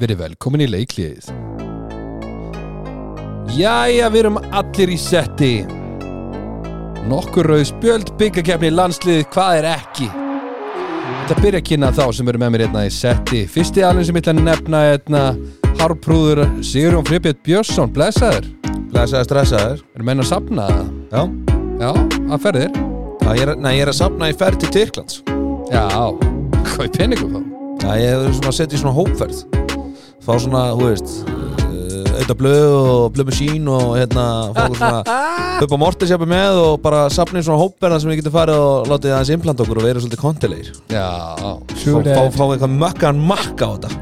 Verið velkomin í leikliðið. Jæja, við erum allir í setti. Nokkur rauð spjöld byggakefni landsliðið, hvað er ekki? Þetta byrja að kynna þá sem eru með mér einna í setti. Fyrsti alveg sem ég ætla að nefna einna harprúður Sigurjón Friðbjörn Björnsson, blessaður. Blesaður, stressaður Erum menn að sapna það? Já Já, að ferðir. Já, ég er, nei, ég er að sapna í ferð til Tyrklands Já, hvað er peningum þá? Já, ég er svona að setja í svona hópferð Fá svona, þú veist eh, Auðvitað blöð og blöð með sín og hérna Fá svona upp á mortisjapi með og bara sapna í svona hópferðan sem við getum farið og látið aðeins implanta okkur og vera svolítið kontilegir Já, Fá, True fá, that, fá eitthvað mökkaðan makka á þetta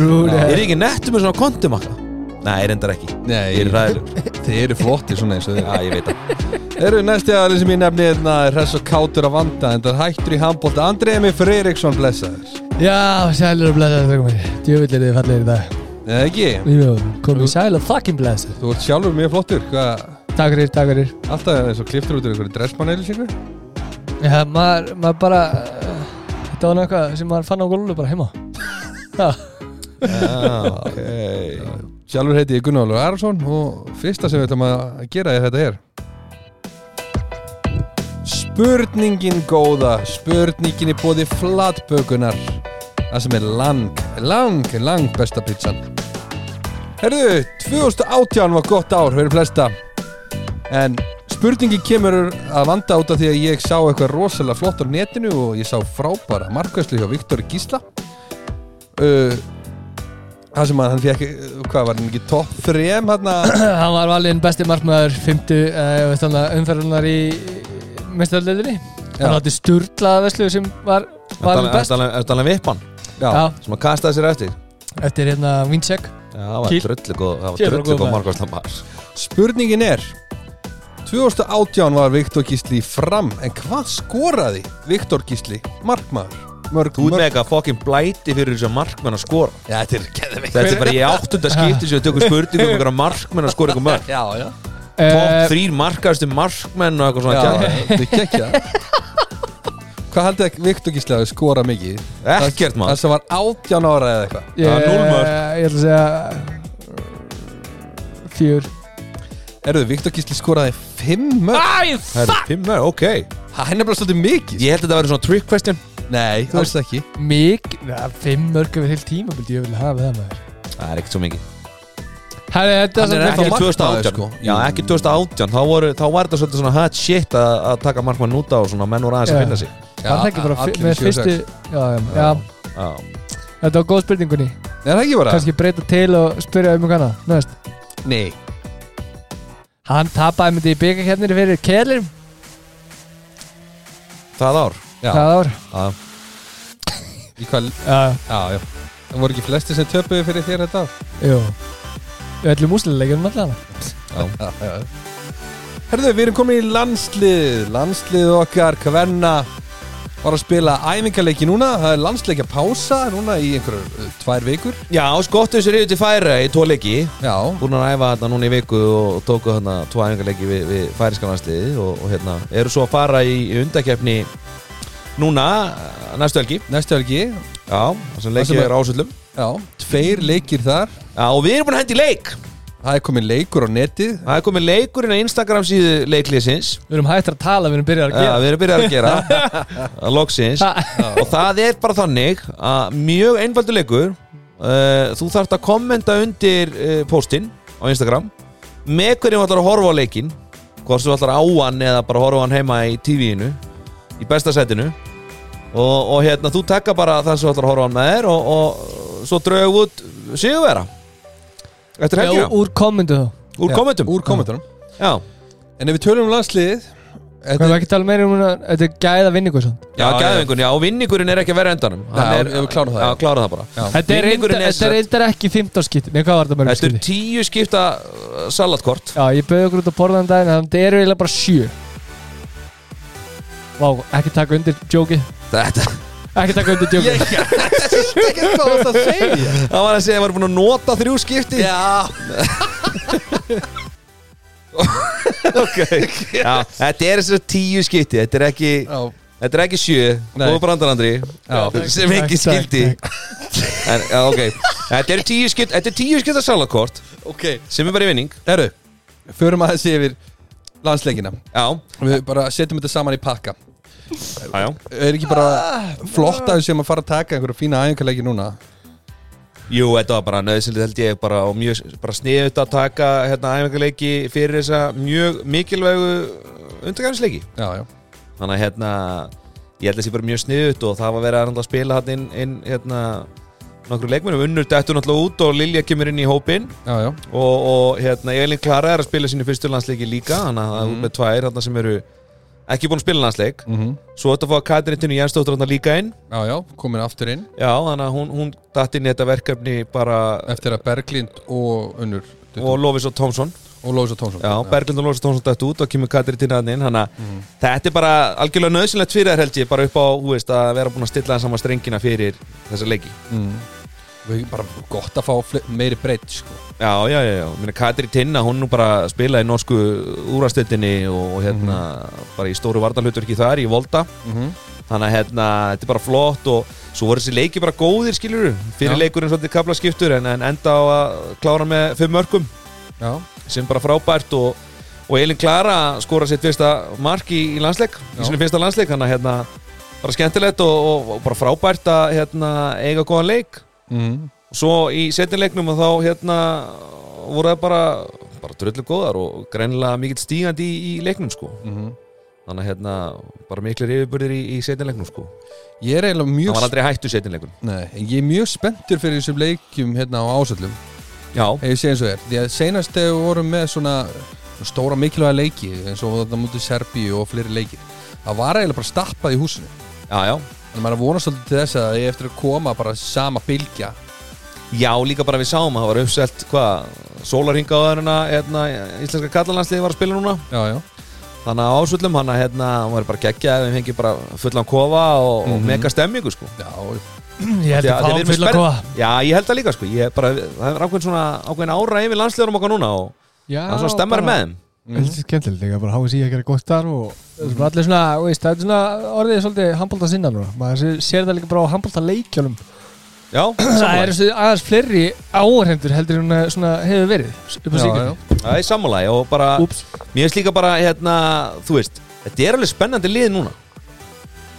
true that Er ég ekki nettur með svona kontimakka? Nei, reyndar ekki Nei, Ég er ræður Þið eru flotti svona eins og þið Já, ég veit það Eru næsti aðri sem ég nefni hérna er hress og kátur að vanda en það er hættur í handbólta Andrið Emil Freyriksson blessaður Já, sælir og blæsar þegar komið Djöfull er þið fallegir í dag Eða ekki? Jú, Komið sæl og fucking blæsar Þú ert sjálfur mjög flottur Hvað? Takk fyrir, takk fyrir Alltaf er eins og kliftur út úr einhverju dressmanneil sínu Já, maður, maður bara uh, Þetta var náttúrulega sem maður fann á gólunum bara heima Já, Ah, Já, ok Sjálfur heiti ég Gunnar Ólafur Arason og fyrsta sem við ætlum að gera er þetta hér Spurningin góða Spurningin er bóði flatbökunar Það sem er lang, lang, lang besta pizzan Herðu, 2018 var gott ár fyrir flesta En spurningin kemur að vanda út af því að ég sá eitthvað rosalega flott á netinu og ég sá frábæra markvæslu hjá Viktor Gísla uh, Það sem að hann fekk, uh, hvað var hann ekki, topp 3 hann hann var valinn besti markmaður 50 uh, umferðunar í mestarleðinni Já. Hann átti sturlaða veslu sem var valinn best Þetta er alveg vippan Já, Já, sem að kastaði sér eftir eftir hérna Vinsek Já, það var Kýl. drullu góð, það var Djöfull drullu góð góð maður. margóðstambar. spurningin er 2018 var Viktor Gísli í fram en hvað skoraði Viktor Gísli markmaður? Mörg, Þú ert með eitthvað fokkin blæti fyrir þessu markmenn að skora. Já, þetta er geðveikt Þetta er bara ég áttunda skipti sem við tökum spurningu um einhverja markmenn að skora einhver mörg. Já, já Eh, Top þrýr markaðustu markmenn og eitthvað svona Já, kjæði. þetta er gekkja Hvað haldið að Viktor Gísli hafi skorað mikið? eh, Það Ekkert maður. sem var 18 ára eða eitthvað Ég, Það er núll mörk. ég ætla að segja Fjör Erðu, Viktor Gísli skoraði 5 mörg Ah! Æ, Það er fimm mörg, ok. Hann er bara svolítið mikið Ég held að þetta verður svona trick question. Nei, Þú alls ekki Mikið, það fimm mörg yfir heil tíma Bildi ég vil hafa það maður Það er ekkert svo mikið. Herri, þetta Hann er er samt ekki- ekki Ekki markmaður, 2018. sko. Já, ekki 2018. Þá, voru, þá var þetta svolítið svona hot shit að, að taka markmenn út á og svona menn voru aðeins að Já. finna sig. Var það ekki bara allir fi- með sjö, sex. fyrstu já, já, já, Já. þetta var góð spurningunni Nei, það er ekki bara Kanski breyta til og spyrja um hana Næst Nei Hann tapaði myndi í byggakeppnir fyrir Kjellir Það ár. Já. Það ár Já. Í hvað Já, Já, já Það voru ekki flesti sem töpuðu fyrir þér þetta ár? jú Við ætlum úsliðleikjum allan Já, já, já. Herðu, við erum komin í landslið Landslið okkar, Kvenna Var að spila æfingarleiki núna Það er landsleikja pása núna í einhverjur uh, tvær vikur Já, skottum sér yfir til færa í tóleiki. Já, búin að æfa þarna núna í viku og tóku þarna tvo æfingarleiki við, við færiskanlandsliði og, og hérna, eru svo að fara í, í undakefni núna, eh, næstu helgi næstu helgi Já, þar sem sem leikið er- er ásöldum Já, tveir leikir þar Já, og við erum búin að hendi leik Það er komin leikur á netið Það er komið leikurinn á Instagram síðu leiklýsins Við erum hættir að tala, við erum byrjað að Já, gera við erum byrjað að gera að loksins og það er bara þannig að mjög einfaldur leikur uh, þú þarft að kommenta undir uh, postin á Instagram með hverjum ætlar að horfa á leikin hvort sem þú ætlar á hann eða bara horfa á hann heima í tv-inu í besta setinu og, og hérna þú tekka bara það sem þú ætlar að horfa á hann með þér og, og svo draugu út sigurvera eftir Já, helgina úr, úr kommendu þá Já, kommentum Úr kommentunum já, En ef við tölum um landsliðið Við Þetta erum ekki að tala meira um hana, þetta er gæða vinningu svo. já, Já, já. gæðvingun, já, og vinningurinn er ekki að vera endanum Já, Hann er- ef við klárum það, já, já. klárum það bara Þetta er Vinningurinn reyndar- er þetta er reyndar ekki 15 skitt, nei hvað var þetta mörg Þetta er skitti? tíu skipta uh, salatkort Já, ég bauði okkur út að borða þann daginn, en þetta eru eiginlega bara 7. Vá, ekki taka undir jókið, Þetta ekki taka undir jókið. er ekki hvað það segja Það var að segja að maður er búin að nota þrjú skipti Já, okay. Já, Þetta er þessar tíu skipti Þetta er ekki já Þetta er ekki sjö, Nei. góðu brandarandri sem Takk, ekki takk, skildi en, já, ok Þetta er tíu skipt, þetta er tíu skipt að salakort Ok sem er bara í vinning Herru, förum aðeins yfir landsleikina Já, Við bara setjum þetta saman í pakka já, já Er ekki bara flott að við séum að fara að taka einhverja fína æfingarleiki núna Jú, þetta var bara nöðsynlið held ég bara, og mjög bara sniðut að taka hérna, æfingarleiki fyrir þessa mjög mikilvægu undargæðisleiki Já, já þannig að hérna ég held að það sé bara mjög sniðut og það var verið að náttúrulega spila hann inn, inn hérna nokkru leikmennum, unnur dættu náttúrulega út og Lilja kemur inn í hópin Já, já og, og hérna Elin Klara er að spila sínu fyrstu landsleiki líka þannig að það er út með tvær hérna, sem eru ekki búin að spila landsleik mm svo þetta fóða Katrin Tinnu Jensdóttur hérna líka inn Já, já, komin aftur inn já, þannig að hún, hún dætt inn í þetta verkefni bara Eftir að Berglind og Unnur duttu- og Lofis og Tomsson og Lósa Tónsson Já, Mhm. Berglind og Lósa Tónsson dætt út og kemur Katri til hann inn Þannig að þetta er bara algjörlega nöðsynlegt fyrir þér held ég Bara upp á, hú veist, að vera búin að stilla það saman strengina fyrir þessa leiki mm. Við bara gott að fá fle- meiri breytt sko. Já, já, já, já, minna Katri Tinna, hún nú bara spilaði í norsku úrastöldinni og og hérna, bara í stóru vartalhutverki þar, í Volta Mhm. Þannig að hérna, þetta er bara flott og svo voru þessi leiki bara góðir, skilur Fyrir Já. leikurinn svolítið kaplaskiptur en, en enda á að klára með fimm mörgum Já, sem bara frábært og, og Elin Klara skora sitt fyrsta mark í, í landsleik Já. í sinni fyrsta landsleik þannig að hérna, bara skemmtilegt og, og, og bara frábært að hérna, eiga góðan leik mm. og svo í setnileiknum og þá hérna, voru það bara, bara dröllu góðar og greinilega mikill stígandi í, í leiknum sko Mhm. þannig að hérna, bara miklir yfirbyrðir í, í setnileiknum sko Ég er eiginlega það mjög var aldrei hættu setnileikun Nei, ég er mjög spenntur fyrir þessum leikjum hérna á ásöllum já, Ef ég sé eins og er Því að senast þegar við vorum með svona stóra mikilvæga leiki eins og þetta mútið Serbíu og fleiri leikir Það var eiginlega bara stappað í húsinu já, já En maður er að vona svolítið til þess að það er eftir að koma bara sama bylgja Já, líka bara við sáum að það var uppselt hvað, sólarhinga á þeirna hérna, íslenska kallalandsliði var að spila núna Já, já þannig að ásvöllum hann að hérna, hann var bara geggja við fengið bara fullan kofa og, og mega stemmingu sko Já, Ég Mhm. held Því að að- því að við fáum erum fulla spenn- góða Já, ég held það líka sko ég er bara, það er ákveðin svona ákveðin ára yfir landslegurum okkar núna og Já, það er svona stemmar bara- með þeim Mhm. Þetta er skemmtilegt líka, bara háið sér að gera gott starf og Það er bara allir svona, þú veist, það er svona orðið svolítið handbólta sinna núna maður sér, sér það líka bara á handbólta leikjunum Já, það sammála eru svona aðeins fleiri áhendur heldur en hún, svona hefur verið upp á já, síkunni já. Það er sammála og bara, Úps, mér finnst líka bara hérna, þú veist, þetta er alveg spennandi lið núna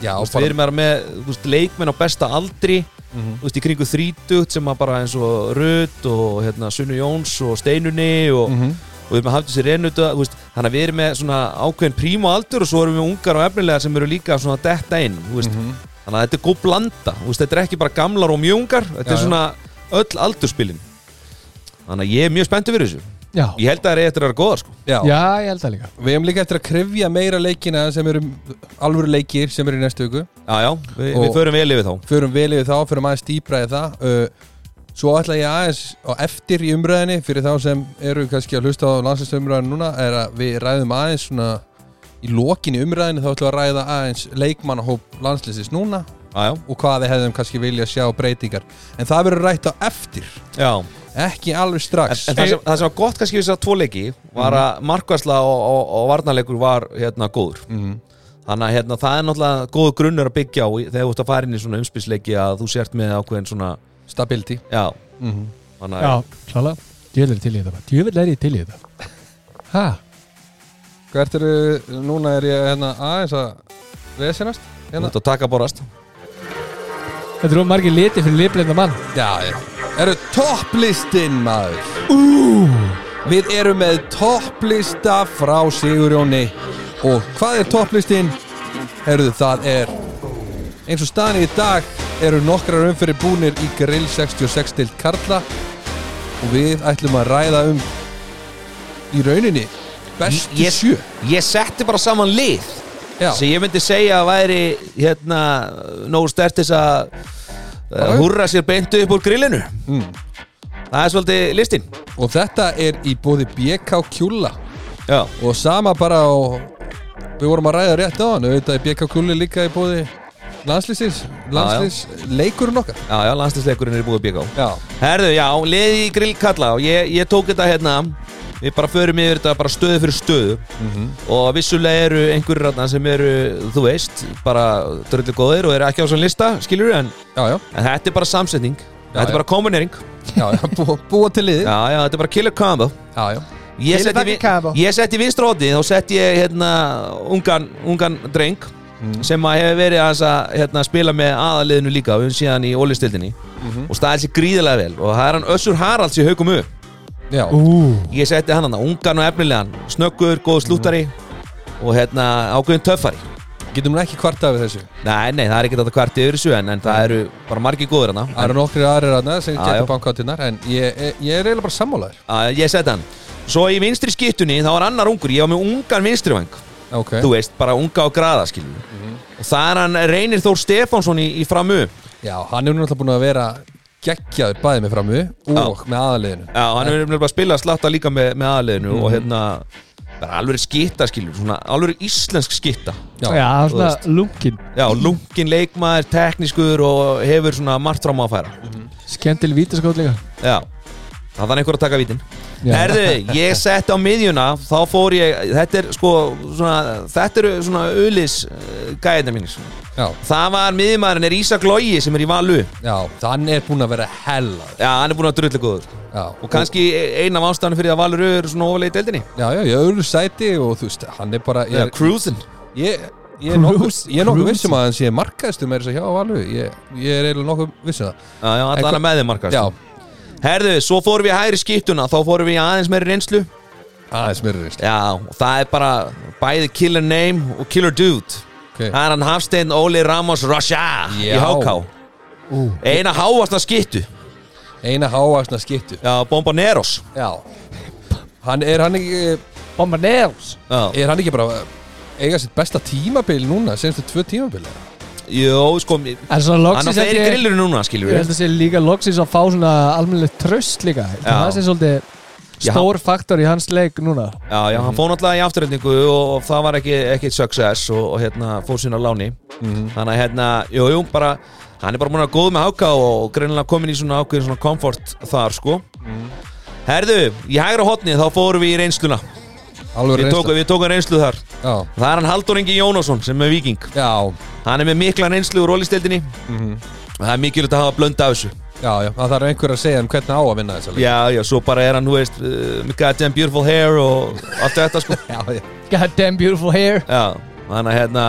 já Þú veist, bara, Við erum bara með þú veist, leikmenn á besta aldri Mhm. þú veist, í kringu 30 sem að bara eins og Rut og hérna, Sunnu Jóns og Steinunni og, Mhm. og við erum að hafa þessi reynuta þannig að við erum með svona ákveðin príma aldur og svo erum við ungar og efnilegar sem eru líka svona að detta inn þú veist, Mhm. þannig að þetta er góð blanda þú veist, þetta er ekki bara gamlar og mjöngar þetta Já, er já. svona öll aldurspilin þannig að ég er mjög spenntur fyrir þessu já, ég held að það er eftir að vera góðar sko já. já, ég held það líka Við hefum líka eftir að krifja meira leikina sem eru alvöru leikir sem eru í næstu viku já, já, við, Og- við förum vel yfir þá Förum vel yfir þá, förum aðeins dýbra í það uh, Svo ætla ég aðeins á eftir í umræðinni fyrir þá sem eru kannski að hlusta á landslæsumræðinu núna er að við ræðum aðeins svona í lokinni umræðinu þá ætlum við að ræða aðeins leikmannahóp landslýsins núna já, já, og hvað við hefðum kannski vilja sjá breytingar en það verður rætt á eftir já ekki alveg En, strax en það, sem, það sem var gott kannski við þess að tvo leiki var að markværsla og, og, og varnarleikur var hérna góður Mhm. þannig að hérna, það er náttúrulega góður grunnur að byggja á í- þegar þú ert að fara inn í svona umspilsleiki að þú sért með ákveðin svona Stability já, mm -hmm. þannig að Já, klála Djövel er til í þetta bara, djövel er ég til í þetta Hæ? Hvert eru, núna er ég hérna aðeins að vesinast þú hérna. ert að taka borast Þetta eru margir liti fyrir liðblinda mann Já, já. eru topplistinn maður Ú. Við erum með topplista frá Sigurjóni Og hvað er topplistinn? Herðu, það er Eins og staðan í dag eru nokkrar umfyrir búnir í grill 66 til Karla Og við ætlum að ræða um Í rauninni Bestu Ég- sjö ég setti bara saman lið Já, sem ég myndi segja að væri hérna, nógu stertis að Já, uh, já. húrra sér beintu upp úr grillinu Mm. það er svolítið listin og þetta er í bóði BK Kjúla já, Og sama bara á Við vorum að ræða rétt á hann auðvitað er BK Kulli líka í bóði landslýsins Landslýs leikurinn okkar já, já landslisleikurinn er búið að byggja á Já, Herðu, já, liði í grillkalla og ég, ég tók þetta hérna Við bara förum yfir þetta bara stöðu fyrir stöðu og vissulega eru einhverjir rannar sem eru, þú veist, bara dröldu góðir og eru ekki á svona lista, skilur við, en, Já, já, en þetta er bara samsetning, þetta já. er bara kombinering, já, já búa, búa til liði Já, já, já, þetta er bara killer combo. já, Ég Killer setti, vi- fucking combo. ég setti vinstra hóti, þá setti ég hérna ungan, ungan dreng sem að hefur verið aðeins að hérna, spila með aðaliðinu líka, við höfum síðan í ólistildinni og staðið sér gríðilega vel og það er hann Össur Haralds í haugum upp já, Ú, Ég setti hann hann, ungan og efnilegan Snöggur, góð slúttari Og hérna ákveðin töffari Getum nú ekki kvartað við þessu Nei, nei, það er ekkert að það kvart yfir þessu en, en það eru bara margir góður hann Það eru nokkri aðrir aðna sem Já, geta já. bankáttinnar En ég, ég, ég er eiginlega bara sammálaður Ég setti hann Svo í vinstri skittunni, þá var annar ungur Ég var með ungan vinstrivang Ok, Mhm. Þú veist, bara unga og graða, skiljum Og það er hann Reynir Þór Stefánsson í, í framu já, hann er nú náttúrulega búin að vera geggjaður bæði með framu og með aðaliðinu Já, hann hefur nefnilega bara spilað slatta líka með, með aðliðinu Mhm. Og hérna, bara alveg skitta, skiljum Svona alveg íslensk skitta Já, Já, þú svona veist. lunkin Já, lungin leikmaður, teknískur Og hefur svona margt fram á að færa skemmtil vítaskóð líka Já, það var einhver að taka vítin Já. Herðu, ég sett á miðjuna Þá fór ég, þetta er sko svona, Þetta eru svona ulis Gæðina mínir já, Það var miðjumæðurinn er Ísak Logi sem er í Valu já, hann er búin að vera hellaður Já, hann er búin að drullu góður Já, Og kannski eina af ástæðanum fyrir að Valur eru svona ofalega í deildinni já, já, ég öðru sæti og þú veist, hann er bara Já, Ég, cruisin ég, ég er nokkuð Cruise- ég er nokkuð cruise. vissum að hann sé markaðistum er þess að hjá Valur ég, ég er eiginlega nokkuð vissum það Já, En já, allan að hva- með þeim markast Já, Herðu, svo fórum við í hægri skiptuna Þá fórum við í aðeins meiri reynslu aðeins mér er reist Já, og það er bara bæði killer name og killer dude Ok. Það er hann Hafstein Óli Ramos Rasha í Já. HK Eina hávasta skittu Eina háaksna skiptu Já, Bomboneros Já Hann er hann ekki Bomba Nails Já. Er hann ekki bara að eiga sitt besta tímabil núna senstu tvö tímabil eða? Jó, sko mér- En svona Hann á loksins fleiri ekki grillur núna, skiljum Ég held við að sé líka loksins að fá svona almennilegt tröst líka Ég held að Já. Það sé svolítið Já. stór faktor í hans leik núna Já, já, hann fór náttúrulega í afturreldingu og það var ekki, ekki success og, og hérna fór sína láni Þannig að hérna, jú, jú, bara hann er bara múin að góð með háka og greinilega komin í svona ákveðin svona komfort þar, sko Herðu, í hægra hotni þá fórum við í reynsluna Alveg Við reynsla tókum, við tókum reynslu þar Já Það er hann Haldur Ingi Jónásson sem er viking Já, Hann er með mikla reynslu úr rólisteldinni Mhm. og það er mikilvægt að hafa blönda af þessu já, já, það þarf einhver að segja hann hvernig á að vinna þessa leik Já, já, svo bara er hann, þú veist, uh, með goddamn beautiful hair og allt þetta, sko Já, já, God damn beautiful hair Já, þannig að hérna,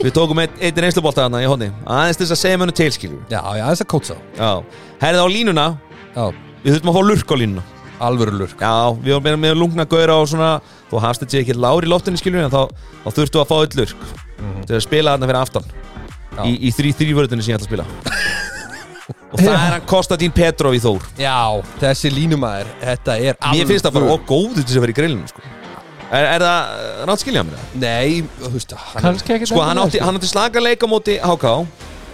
við tókum einn ein reynslubolta þarna í honni Aðeins til þess að segja mönnu tilskilju já, já, aðeins að kótsa Já, herðið á línuna, Já, við þurfum að fá lurk á línuna alvöru lurk Já, við vorum með- með lungna gauðra og svona Þú hafst þetta ekki lári í loftinu skilju En þá, þá þurftu að fá eitt lurk Til að spila þarna fyrir aftan Já. Í, í þrý þrývörðinu sem ég ætla að spila Og það er hann Konstantín Petrov í Þór Já, þessi línumæður, þetta er alvöru Mér finnst það bara ógóður til þess að vera í grillinu sko. er, er það rátt skilja mér það? Nei, þú veist, hann Kannski ekki Sko, hann átti, hann átti slaka leika móti HK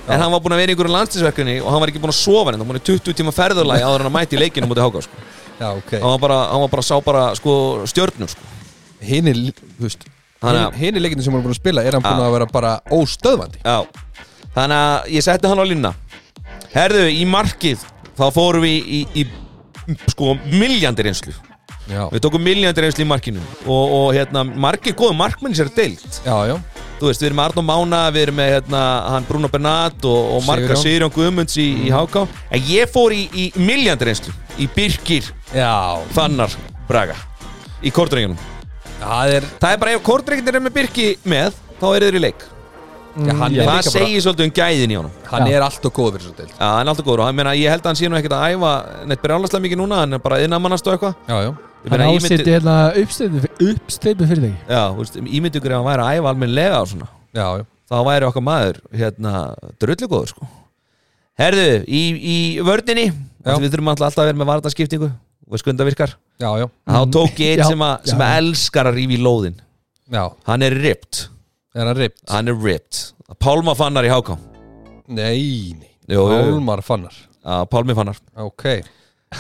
En hann var búinn að vera í einhverju landslisverkefni Og hann var ekki búinn að sofa hann Það var búinn í 20 tíma ferðurlægi áður en hann mæti í leikinu móti HK sko. Já, ok Hann var bara, hann var bara sá bara sko, stjörnum sko. Hini, þú veist Hann er- Hini leikinu sem hann er búin að spila er hann búin Já. að vera bara óstöðvandi Já, þannig að ég setti hann á línna Herðu, í markið þá fórum við í, í, í sko, miljandir einslu Já, Við tókum miljandir einslu í markinu og, og hérna, margir góðu markmenn sér deilt já, já Þú veist, við erum með Arnó Mána, við erum með hérna, hann Bruno Bernat og, og marga Sigurjón. Sigurjón Guðmunds í, Mm. í HK En ég fór í, í miljandir einslu, í Birkir Já, Fannar Braga í kortrengjunum það er Það er bara ef kortrengjunir er með Birki með, þá eru þeir í leik Já, hann er Það líka bara, Mm, segir svolítið um gæðin í honum hann Já. er allt og góð fyrir svo deild Já, hann er alltaf góður og hann meina, ég held að hann sé nú ekkert að æfa neitt brjálaslega mikið núna, hann er bara innamannast og eitthvað Já, já, Ég Hann meina, ég ásýtti myndi, hérna uppsteypu uppsteypu fyrirtæki já, þú veist, ég myndi ykkur ef hann væri að æfa almennlega og svona, já, já þá væri okkar maður hérna, drullu góður sko Herðu, í, í vördinni Já. við þurfum alltaf alltaf að vera með vartaskiptingu og skunda virkar, Já, já, þá tók ég Mhm. Já, einn sem, að- sem að elskar að rífi í lóðin já, hann er ripped, er hann ript? hann er ripped Pálma fannar í háká Nei, nei, Jú, jú, jú. Pálmar fannar Já, Pálmi fannar, Ok,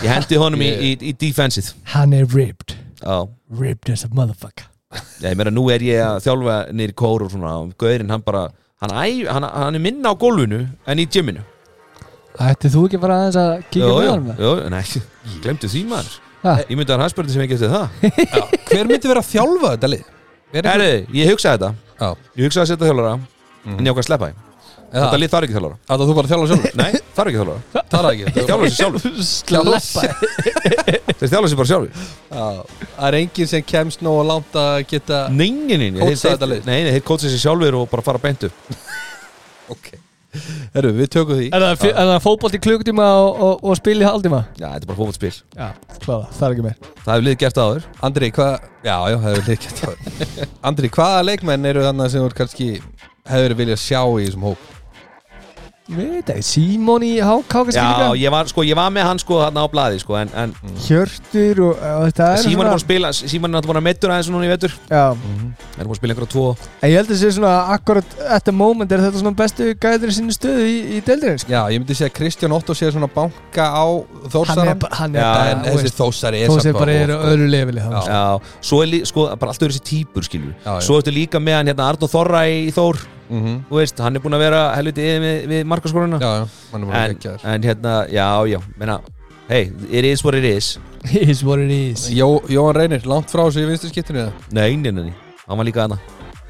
ég hendi honum í, í, Ég- í defensið Hann er ribbed Já Ribbed as a motherfucker Já, ég meina, nú er ég að þjálfa nýri kór og svona, og gaurinn, hann bara hann, æ, hann, hann er minna á gólfinu en í gyminu Ætti þú ekki bara aðeins að kíkja Jú, með jú, jú, hann? nei, glemdu því maður Ég myndi að hann spurði sem ekki eftir það Já. Hver myndi vera að þjálfa þetta lið? Hver er- Herri, ég hugsaði þetta Já. Ég hugsaði að setja þjálfara En ég ákvað að sleppa því Þetta Eða, lið þarf ekki þjálfara að þú bara þjálfa sjálfur? Nei, þarf ekki þjálfara Tala ekki Þjálfara sér sjálfur Sleppa Þeir þjálfara sér bara sjálfur Já. Það er enginn sem kemst nóg langt að geta Nei, nei, nei Kótsa þeir- þetta lið. Nei, nei, þeir kótsa sér sjálfur og bara fara beint upp Ok Herru, við tökum því Er það fi- er það fótbolt í klukkutíma og, og, og spil í haldíma? Já, þetta er bara fótboltspil Já, kláða, það er ekki meir Það hefur lið gert áður Andri, hvað Já, já, hefur líka gert það Andri, hvaða leikmenn eru þannig sem þú ert kannski hefur viljað sjá í þessum hóp? Ég veit ekki, Simon í HK kannski Já, líka ég var, sko, ég var með hann sko þarna á blaði sko, en, en Hjörtur og, og þetta er Síman er búin að spila Síman er náttúrulega búin að meittur aðeins núna í vetur Já, Það er búin að spila einhverja tvo en ég held að sé svona akkurat at the moment er þetta svona bestu gæður í sinni stöðu í, í deildurinn sko. Já, ég myndi segja að Kristján Otto sé svona banka á Þórsaran bara, hann Já, bara, En þú þessi veist, Þórsari er þó sé samt bara er á of- öðru lefili þá Já. sko. Já, svo er lí, sko, bara alltaf þessi típur skilur Já, já. Svo ertu líka með hann hérna Arnó Þorra í Þór Mhm. Þú veist, hann er búin að vera helviti yfir við, við markaskoruna Já, já, hann er bara en, geggjaður en hérna, já, já, meina Hey, it is what it is Is what it is Jó, Jóhann Reynir, langt frá þessu í vinstu skiptinu eða? Nei, nei, nei, nei. hann var líka aðna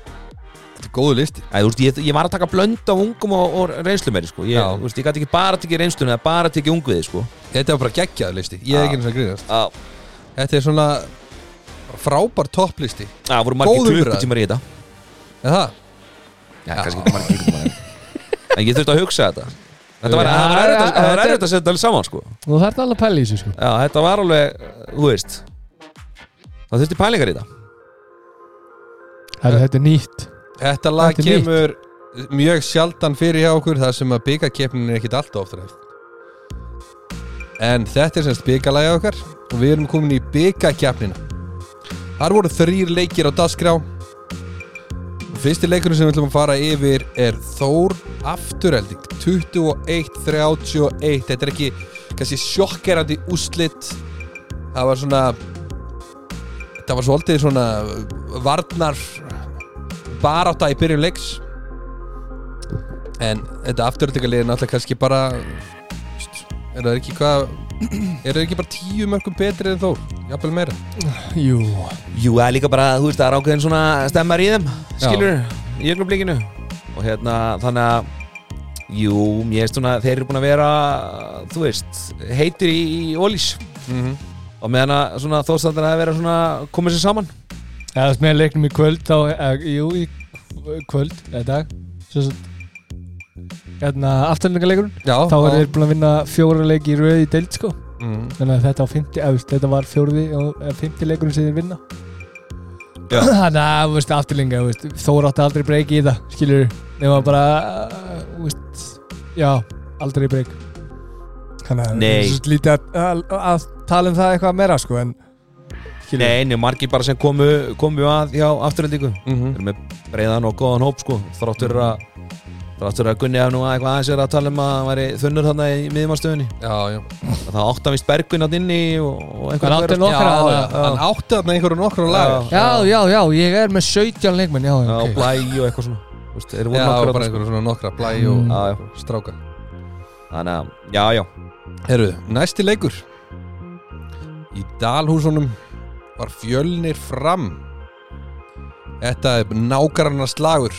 Þetta er góðu listi Æ, þú veist, ég, ég var að taka blönd af ungum og, og reynslu meiri, sko Ég, Já. þú veist, ég gæti ekki bara að tekja reynsluna eða bara að tekja ungviði, sko Þetta er bara geggjaður listi, ég er ekki eins og að grínast Já, Þetta er svona frábær topplisti það voru margir Góð umræða. klukkutímar í þetta Er það? Já, kannski ekki margir klukkutímar en- En ég þurfti að hugsa þetta Þetta var, Já, það var erfitt að- það var þetta er- erfitt að setja þetta saman, sko Nú þarf þetta alveg að pæla í þessu sko Já, þetta var alveg, þú veist Það þurfti pælingar í það Herra, Þetta er nýtt Þetta lag Þetta er nýtt. kemur mjög sjaldan fyrir hjá okkur þar sem að byggakeppnin er ekkit alltaf ofta reynd En þetta er semst byggalagi okkar og við erum komin í byggakeppnina Þar voru þrýr leikir á dagskrá Fyrsti leikurinn sem við ætlum að fara yfir er Þór Afturelding 21-31 Þetta er ekki kannski sjokkerandi úslit Það var svona Þetta var svolítið svona varnar barátta í byrjun leiks en þetta afturöldingalið er náttúrulega kannski bara st- er það ekki hvað er það ekki bara tíu mörgum betri en þó jafnvel meira Jú Jú, það er líka bara, þú veist, það er ákveðin svona stemmar í þeim Skilur, í jögnublikinu Og hérna, þannig að Jú, mér veist svona, þeir eru búin að vera Þú veist, heitir í, í ólís Mhm. Og meðan að svona þóstandar að vera svona Komið sér saman Það er með leiknum í kvöld þá, eh, Jú, í kvöld eða dag Svo svo Hérna, afturlendingaleikurinn já, Þá er þeir búin að vinna fjóra leiki í röði í deild sko mm, Þannig að þetta á 50, eða, veist, þetta var fjórði og eða, 50 leikurinn sem þið vinna Já. Þannig að, þú veist, afturlinga þú veist, Þór átti aldrei breyki í það, skilur Nefna bara, þú veist Já, aldrei breyk Þannig að, Nei. þú veist, lítið að, að, að tala um það eitthvað meira, sko En, skilur Nei, nei, margir bara sem komu, komu að hjá afturöldingu Mhm. Þeir eru með breiðan og góðan hóp sko Þráttur að Þráttur að Gunni hef nú eitthvað aðeins er að tala um að hann væri þunnur þarna í miðumarstöðunni já, já, Það átti hann vist Bergvin átt inni og, og einhver Hann átti fleira, sko. já, Nokkra já, aðra, já. hann átti þarna einhverju nokkru lagar Já, Já, já, já, ég er með 17 leikmenn, já, sko. Já, og ok blæ og eitthvað svona Þú veist, Þeir voru já, bara nokkra þarna, sko. einhverju svona nokkra blæ og Mhm. Já, já. stráka Þannig að, já, já herru, næsti leikur í Dalhúsunum var fjölnir fram þetta er nákarana slagur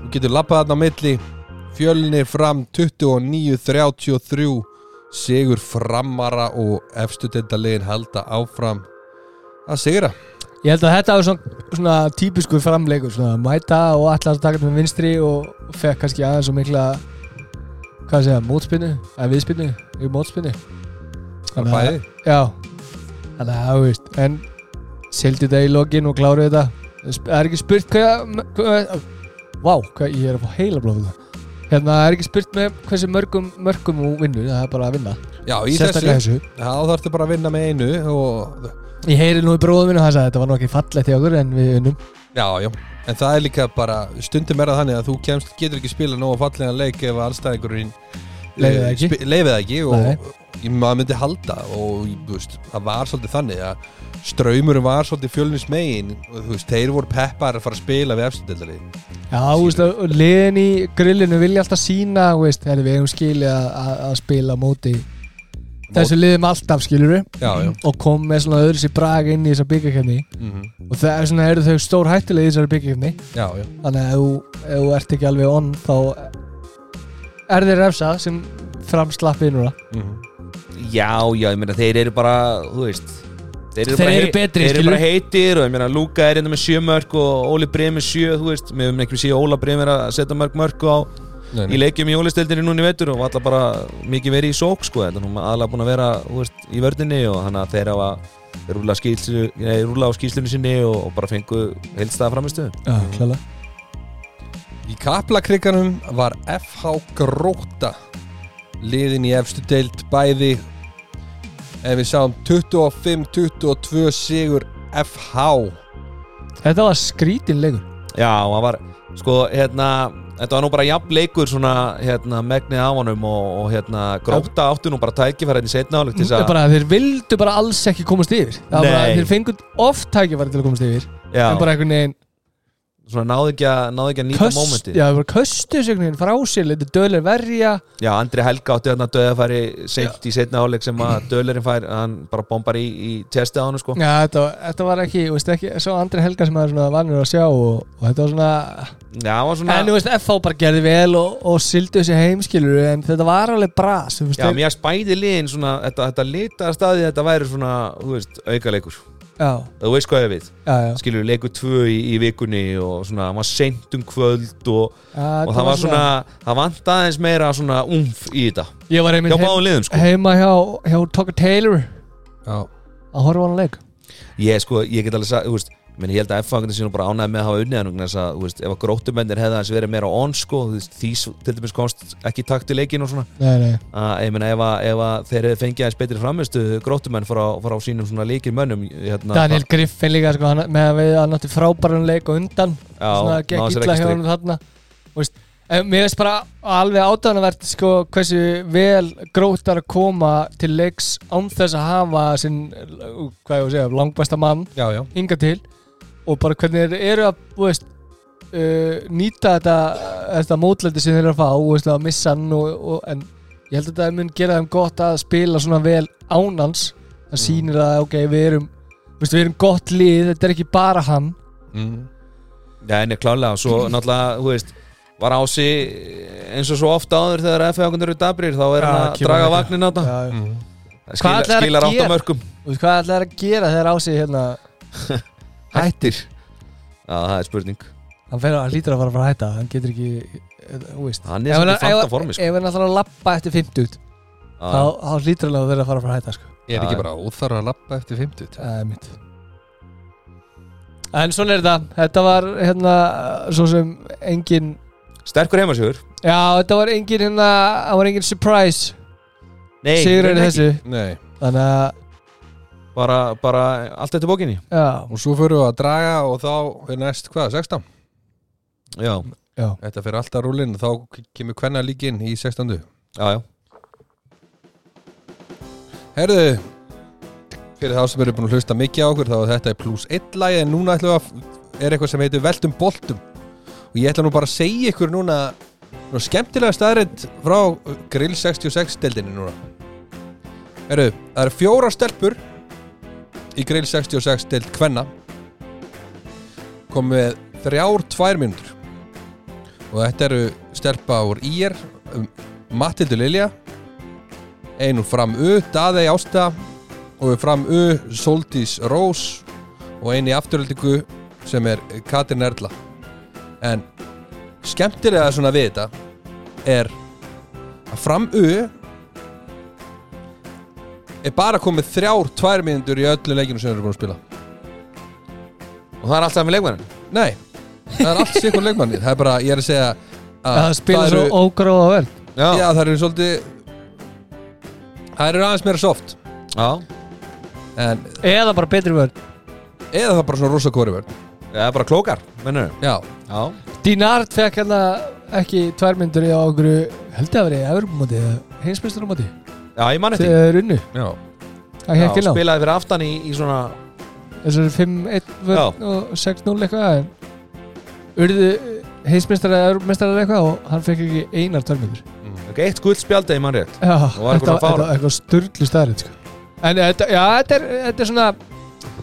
þú getur lappað þarna á milli fjölnir fram 29-33 sigur framara og efstu deildaliðin halda áfram að sigra Ég held að þetta var svona, svona típisku framleikur svona mæta og allar að taka þetta með vinstri og fekk kannski aðeins og mikla hvað segja, mótspinnu eða viðspinnu, í mótspinnu Þannig að- bæði Já, þannig að þú veist en sildi þetta í lokin og kláruði þetta Sp- Það er ekki spurt hvað, hvað Vá, hvað ég er að fá heila blóð Hérna, það er ekki spurt með hversu mörgum mörgum hún vinnur, það er bara að vinna já, í Sérstaklega þessu, þessu þá þarftu bara að vinna með einu og Ég heyri nú í bróðum minn og hann sagði þetta var nú ekki fallegt í okkur en við vinnum Já, já, en það er líka bara stundum er það þannig að þú kemst, getur ekki spila nógu fallega leik ef eh, allstæðingurinn Leyfir það ekki. leifið ekki og Nei. ég, maður myndi halda og þú veist, það var svolítið þannig að ströymurinn var svolítið fjölnins megin og þú veist, þeir voru peppar að fara að spila við efstendildari Já, þú veist, að- og liðin í grillinu vilja alltaf sína, þú veist, herri, við hefum skilið að, að, að spila á móti þessu liðum alltaf skilur við Já, já og kom með svona öðru sér brag inn í þessar byggjarkefni mhm, og það er svona eru þau stór hættilega í þessari byggjarkefni Já, já þannig að ef þú- ef þú ert ekki alveg onn þá er þér refsa sem framslappi núna mhm. Já, já, ég meina þeir eru bara, þú veist Þeir eru hei- betri, Þeir eru skilur. bara heitir og ég meina Luka er hérna með sjö mörg og Óli Brim með sjö, þú veist Við höfum ekki séð Óla Brim er að setja mörg mörg á Nei, í nei. leikjum í ólisteldinni núna í vetur og alltaf bara mikið verið í sók sko Þetta er nú aðalega búin að vera, þú veist, í vördinni og þannig að þeir hafa þeir rúla, skýslu, nei, rúla á skýslunni sinni og, og bara fengu heilstæða framistu Já, klála Í kaplakrygganum var FH Gróta liðin í efstu deild bæði en við sáum 25-22 sigur FH Þetta var skrítin leikur Já, og það var, sko, hérna Þetta var nú bara jafn leikur svona, hérna, megnið af honum og, og hérna, gróta áttu nú bara hérna tækifæriðin setna áleg til þess að Mm, bara, Þeir vildu bara alls ekki komast yfir Það var bara, Nei. Þeir fengu oft tækifæri til að komast yfir Já, En bara einhvern veginn svona náðu ekki að, náðu ekki að nýta köst, mómenti já, þeir bara köstu þessu einhvern veginn frá sér Leita dölir verja Já, Andri Helga átti þarna döðafæri seint í setna áleik sem að döðlerinn fær hann bara bombar í, í testið á hann sko. Já, þetta, var- þetta var ekki, þú veist ekki Svo Andri Helga sem maður svona vanur að sjá og, og þetta var svona Já, hann var svona En þú veist, FH bara gerði vel og, og sildu þessi heimskilur En þetta var alveg bras þú veist, Já, þeir- mér spæði liðin svona þetta, þetta litaða staði þetta væri svona, þú veist, aukaleikur já, Þú veist hvað ég við, já, já. skilur leikur tvö í, í vikunni og svona, hann var seint um kvöld og, Já, og það var svona, það vant aðeins meira svona umf í þetta Ég var einmitt Hjá heim, báðum liðum sko heima hjá, hjá Tucker Taylor Já, að horfa á hann leik Ég sko, ég get alveg sagt, þú veist menn ég held að F-fangandi sínum bara ánæði með að hafa unnið hann vegna þess að, þú veist, ef að gróttumennir hefði aðeins verið meira on sko, þú veist, því s- til dæmis komst ekki í takt í leikin og svona Nei, nei að, ég meina, ef, að, ef að þeir hefði fengið aðeins betri framistu gróttumenn frá, frá sínum svona leikir mönnum hérna, Daniel Griffin líka sko, hann, með að við hann átti frábæran leik og undan Já, svona náði gekk sér illa ekki hjá strik. hann þarna Þú veist, en mér veist bara alveg átöðanvert sko, hversu vel grótar að koma til leiks án þess að hafa sinn, uh, hvað ég að segja, langbæsta mann já, já hinga til og bara hvernig þeir eru að þú veist, uh, nýta þetta, þetta mótlæti sem þeir eru að fá þú veist, að missa hann og, og, en ég held að það mun gera þeim gott að spila svona vel ánans Mm. það sýnir að ok, við erum þú veist, við erum gott lið, þetta er ekki bara hann mm. Já, en ég klálega, og svo náttúrulega, þú veist var ási eins og svo ofta áður þegar F-fangandi eru dabrir, þá er Já, hann að kemur draga ekki. vagnin á þetta já, Mm. Hvað ætlarðu að skilar átt gera? á mörgum þú veist, hvað ætlaði að gera þegar á sig hérna Hættir Já, það er spurning hann fer að hlýtur að fara að fara að hætta hann getur ekki, eh, þú veist Hann Ef er hann- svolítið fanta ef- formi sko. ef hann ætlar að lappa eftir 50 Já. þá, þá hlýtur hann að vera að fara að fara að hætta sko. Er Já, ekki bara óþarra að lappa eftir 50 Það er mitt En svona er þetta Þetta var hérna Svo sem engin Sterkur heimasjögur Já, þetta var engin hérna Það var engin surprise Nei, Sigur er nei, þessu Nei, Þannig að bara, bara allt eftir bókinni Já, og svo fyrir við að draga og þá er næst hvað, 16? Já, Þetta fyrir alltaf rúlinn þá kemur hvenna líkin í 16. já, já Herðu, fyrir þá sem eru búin að hlusta mikið á okkur þá er þetta í pluss 1 lagi en núna ætlum við að er eitthvað sem heitir Veltum Boltum og ég ætla nú bara að segja ykkur núna nú skemmtilega staðrind frá Grill 66 stildinni núna Herðu, það eru fjóra stelpur í Grill 66 stild Kvenna komið með þrjár tvær mínútur og þetta eru stelpa úr IR um, Matildur Lilja einu fram U, Daðei Ásta og fram U, Soldís Rós og einu í afturöldingu sem er Katrin Erla en skemmtilega svona við þetta er að fram U er bara komið þrjár, tvær mínútur í öllu leikinu sem þeir eru búin að spila Og það er alltaf með leikmennin nei, það er allt sikur leikmanni það er bara, ég er að segja að það spila það svo eru- ógróða vel Já, já, það eru svolítið það eru aðeins meira soft já. en Eða bara betri vörn eða það er bara svona rosa kóri vörn Það er bara klókar, mennur já, Já, Dinard fekk hérna ekki tvær myndur í okkur held ég að vera í Evropamóti eða heimsbyrsturamóti já, ég man eftir þegar runnu já, hann Já, hekk inn á spilaði fyrir aftan í, í svona þessar 5-1 vörn og 6-0 eitthvað en urðu heimsmeistara eða mestarar eitthvað og hann fekk ekki einar törmyndur Ok, eitt guldspjald eða mann rétt Já, var eitthvað svona þetta fáránlegt. þetta- eitthvað störlu staðrið sko. En þetta, já, þetta er, þetta er svona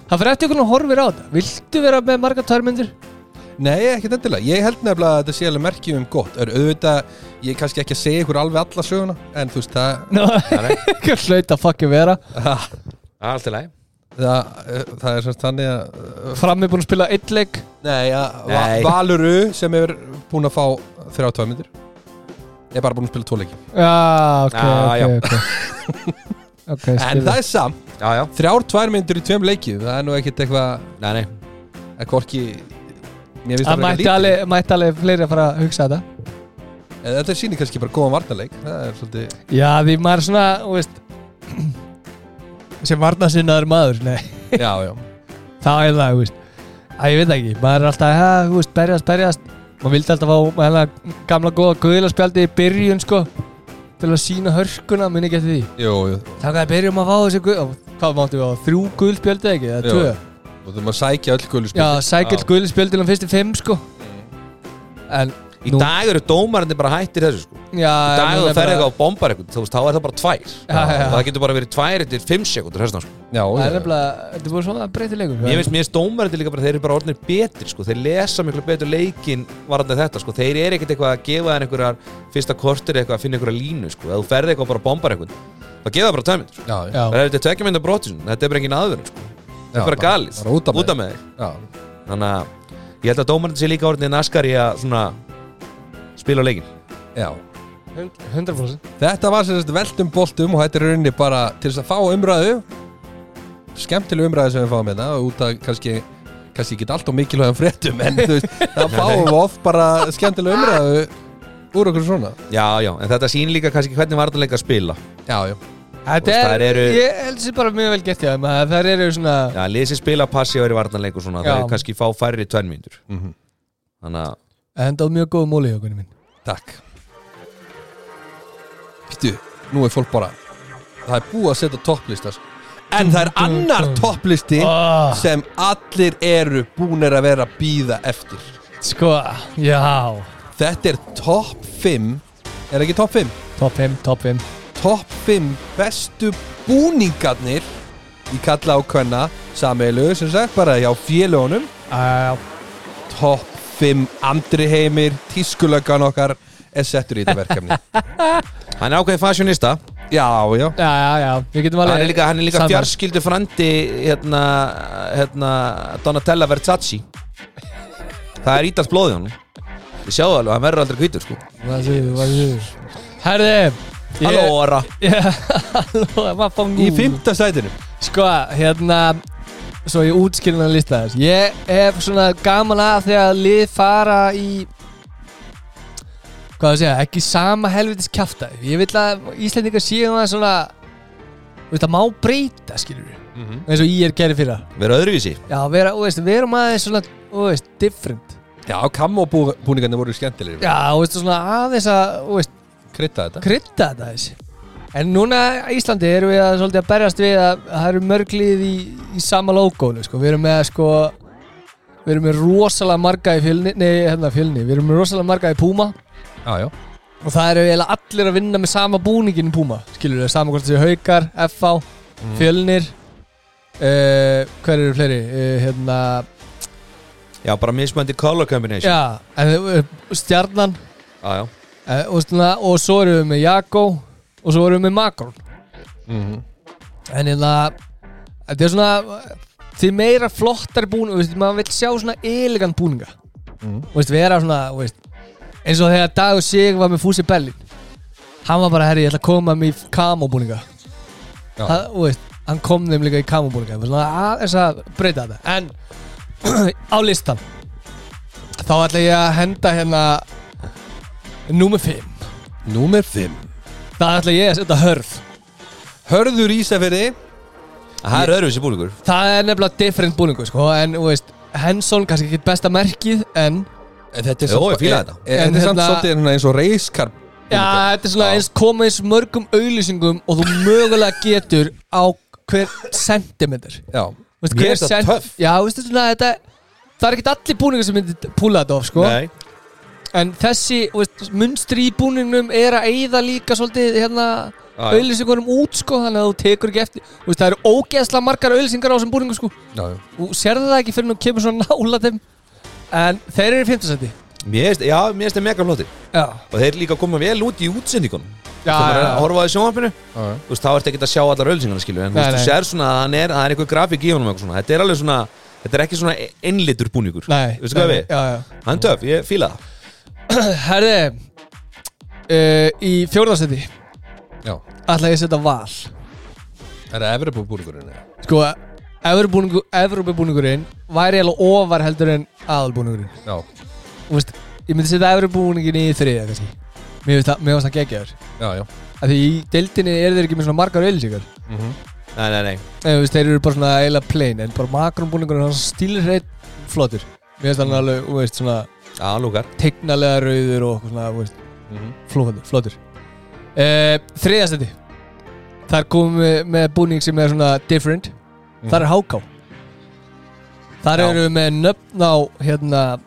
Það fyrir eftir hvernig horfir á þetta Viltu vera með marga törmyndur? Nei, ekkert endilega. Ég held nefnilega að þetta sé alveg merkjum um gott. Er auðvitað, ég er kannski ekki að segja ykkur alveg alla söguna, en þú veist, það, Ná, nei. ekki hlaut að fucking vera Allt í lagi það, það er semst þannig að, Fram er búin að spila einn leik nei, að Nei. nei. Valuru sem er búin að fá þrjá tvömyndir, er bara búin að spila tóleiki. Já, ok, Já, já. ok, ok Ok, En skilja það er samt, Já, já, þrjár tværmyndir í tveim leikið, það er nú ekkert eitthvað, nei, nei að hvorki, mér finnst Það það mætti alveg, mætti alveg fleiri að fara að hugsa þetta En Þetta sýnir kannski bara góðan varnarleik, það er svolítið, Já, því maður er svona, þú veist sem varnasinnaður maður, nei já, já. þá er það, þú veist að ég veit það ekki, maður er alltaf, hæ, þú veist, berjast, berjast maður vildi alltaf fá hana, gamla góða guðilarspjaldi í byrjun, sko til að sína hörkuna, minni ekki eftir því Jú, jú, þá kannski byrjum að fá þessi guð og hvað máttum við á, þrjú guðilspjaldi ekki, eða Jú. tvö og þú maður sækja öll gullu já, spil. sækil Já. guðilspjaldi um fyrstu fimm, sko en, Mm. Í Nú- dag eru dómarandi bara hættir þessu sko Í já, dag en ef hún þú er ferð bara- eitthvað og bombar eitthvað Þú veist, þá er það bara tvær Já, já, já. Það getur bara verið tvær eftir fimm sekundur hérna, sko. Já, það er já. nefnilega, þetta er búin svona breytilegur Mér finnst, mér finnst dómarandi líka bara Þeir eru bara orðinir betri sko Þeir lesa miklu betur leikin varandi þetta sko Þeir eru ekkert eitthvað að gefa þeir einhverjar Fyrsta kortir eitthvað að finna einhverja línu sko Ef þú ferði eitthvað og bara bombar eitthvað Það gefa það bara tæmið sko. Já, já. já, Það er eftir tvekja mynda brotin Þetta er bara engin aðvörun sko Það Já, er bara bara- galið bara út af með Út af með þig Já, Þannig að ég held að dómarinn sé líka orðinni naskar í að svona spila á leikin já. 100% Þetta var sem sagt veltum boltum og þetta er í rauninni bara til þess að fá umræðu skemmtileg umræðu sem við fáum hérna út að kannski kannski ekki alltaf mikilvægum fréttum en þú veist, það fáum við oft bara skemmtileg umræðu úr okkur svona Já, já, en þetta sín líka kannski hvernig varnarleika spila Já, já, Þú veist, þetta þær er, eru- ég held þessi bara mjög vel gett já, maður, það eru svona Já, liðið sem spila passívar í varnarleik og svona Já. Það er kannski fá færri tvennmyndur mm Mhm. Þannig að endað mjög góð múli hjá hvernig minn takk Pítu, nú er fólk bara það er búið að setja topplistas en það er annar topplisti Ah. sem allir eru búnir að vera að býða eftir Sko, já Þetta er topp 5 Er ekki topp 5? Top 5, top 5 Topp 5 bestu búningarnir Í kalla á kvenna Sameilu sem sagt bara hjá félögunum uh, Topp 5 andri heimir Tískulöggan okkar Er settur í þetta verkefni Hann er ákveðið fashionista Já, já Já, já, já, við getum alveg Hann er líka, hann er líka Sammála. fjarskildu frandi hérna, hérna Donatella Versace Það er ítast blóðið hann Ég sjáðu alveg, hann verður aldrei hvítur sko Hvað séu, hvað séu Herði ég- Halló, Óra Já, Halló, maður fangur Í fymta sætinu Sko, hérna Svo ég útskilin að lista þess Ég hef svona gaman að þegar lið fara í Hvað það segja, ekki sama helvitis kjafta Ég vil að Íslendingar séu það svona Þú veist, það má breyta, skilur við eins og ég er gerði fyrir Verður öðruvísi Já, vera, þú veist, verum aðeins svona, þú veist, different Já, kammóbúningarnir voru skemmtilegir Já, þú veist, svona aðeins að, þú veist, Krydda þetta krydda þetta þessi En núna á Íslandi erum við að svolítið að berjast við að að það eru mörglið í, í sama logoinu, sko Við erum með, sko, við erum með rosalega marga í fjölni, nei, hérna fjölni Við erum með rosalega marga í Puma Já, já Og það eru eiginlega allir að vinna með sama búningin í Puma Skilur við, sama hvort þessi haukar, FH, fjölnir uh, Hver eru fleiri? Uh, hérna, Já, bara mismöndi color combination Já, en uh, stjarnan já, já. uh, og, svona, og svo erum við með Jakko og svo erum við með Makrón Mhm. En hérna Þetta er svona eh, Því meira flottar búninga veist, maður vil sjá svona elegant búninga Mhm. og veist, vera svona þú veist, eins og þegar Dagur Sig var með Fúsi Bellin hann var bara, herri, ég ætla að koma með í kamo búninga Já. það, þú veist, hann kom þeim líka í kamo búninga svona aðeins að breyta þetta en á listan þá ætla ég að henda hérna númer 5 Númer 5 það ætla ég að setja hörf Hörður Ísafirði Það er öðruvísi búlingur Það er nefnilega different búningu sko En, þú veist, Henson kannski ekki besta merkið En, En Þetta er Jó, samt- ég fíla þetta. En þetta er samt hérna- svolítið svona eins og reiskar já, þetta er svona eins koma eins mörgum auðlýsingum Og þú mögulega getur á hver sentimeter Já Þú veist, Mér hver finnst það töff. Já, þú veist, þetta er svona, þetta Það er ekkert allir búningar sem myndir púla þetta of sko Nei En þessi, þú veist, munstri í búningnum er að eyða líka svolítið hérna Já, já. auðlýsingunum út sko þannig að þú tekur ekki eftir þú veist, það eru ógeðslega margar auðlýsingar á þessum búningu sko Já, já. og sérðu það ekki fyrir nú kemur svona nála þeim en þeir eru í fimmtasæti Mér finnst- já, mér finnst það mega flottir Já, og þeir líka koma vel út í útsendingunum já, þegar maður er að já, horfa á því sjónvarpinu Já, já. þú veist, þá ertu ekkert að sjá allar ölsingarna skilju en þú Nei, veist, þú nei. sér svona að hann er, að það er einhver grafík í honum eitthvað svona. þetta er alveg svona, þetta er ekki svona einlitur búningur, Nei, veistu hvað nei, við Já, já hann er töf, ég fíla það Herði uh, Í fjórðarsæti Já. ætla ég að setja val Er það efri búbúrgurinn? Sko, Evrópubúningu- Evrópubúningurinn væri alveg ofar heldur en aðalbúningurinn Já, Þú veist, ég myndi setja Evrópubúningin í þriðja kannski Mér finnst það, mér finnst það geggjaður já, já. Af því í deildinni eru þeir ekki með svona margar ölsingar Mm -hmm. nei, nei, nei, Nei, þú veist, þeir eru bara svona eiginlega plain En bara makronbúningurinn, hann stílir hreitt flottur Mér finnst hann alveg, þú veist, svona já, lúkar teiknalega rauður og eitthvað svona, þú veist, Mm -hmm. flóður, flóður. Uh, þriðastendi Þar komum við með búning sem er svona different Þar er háká Þar Já. eru við með nöfn á hérna,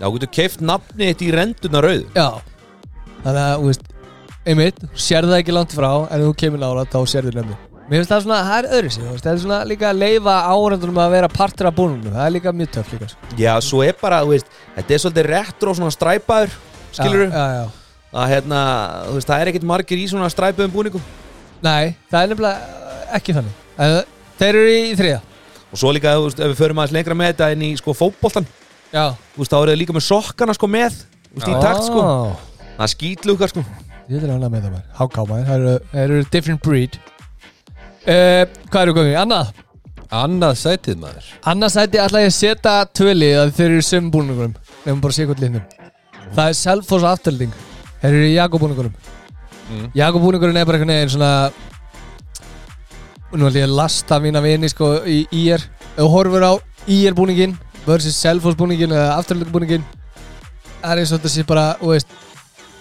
já, þú getur keift nafni þitt í rendurna rauðu já Þannig að, þú veist, einmitt Sér það ekki langt frá, en þú kemur nála þá sér þið nöfni Mér finnst það svona, það er öðru sig Það er svona líka að leifa áreindunum að vera partur af búningnum Það er líka mjög töff líka sko. já, svo er bara, þú veist, þetta er svolítið retro svona stræpaður, skilur Já, já, já að hérna, þú veist, það er ekkert margir í svona stræpaðum búningum Nei, það er nefnilega ekki þannig En Þeir eru í þriða og svo líka, þú veist, ef við förum aðeins lengra með þetta en í sko fótboltan, Já þú veist, þá eru þau líka með sokkana sko með, þú veist, í takt sko Ah. það skýtlúkar sko, Ég vil hana með það maður Háká maður Það eru- Það eru different breed uh, Hvað eru komið? Annað Annað sætið maður. Annað sæti ætla ég að setja tvölið að þeir eru í sömu búningunum Nefnum bara að sé hvort liðnum Það er Selfoss og afturlending Þeir eru í Jakob búningunum Mm. Jakob búningurinn er bara einhvern veginn svona Nú ætla ég að lasta mína vini sko í IR Ef þú horfur á IR búningin versus Selfoss búningin eða afturlending búningin Það er eins og þetta sé bara, þú veist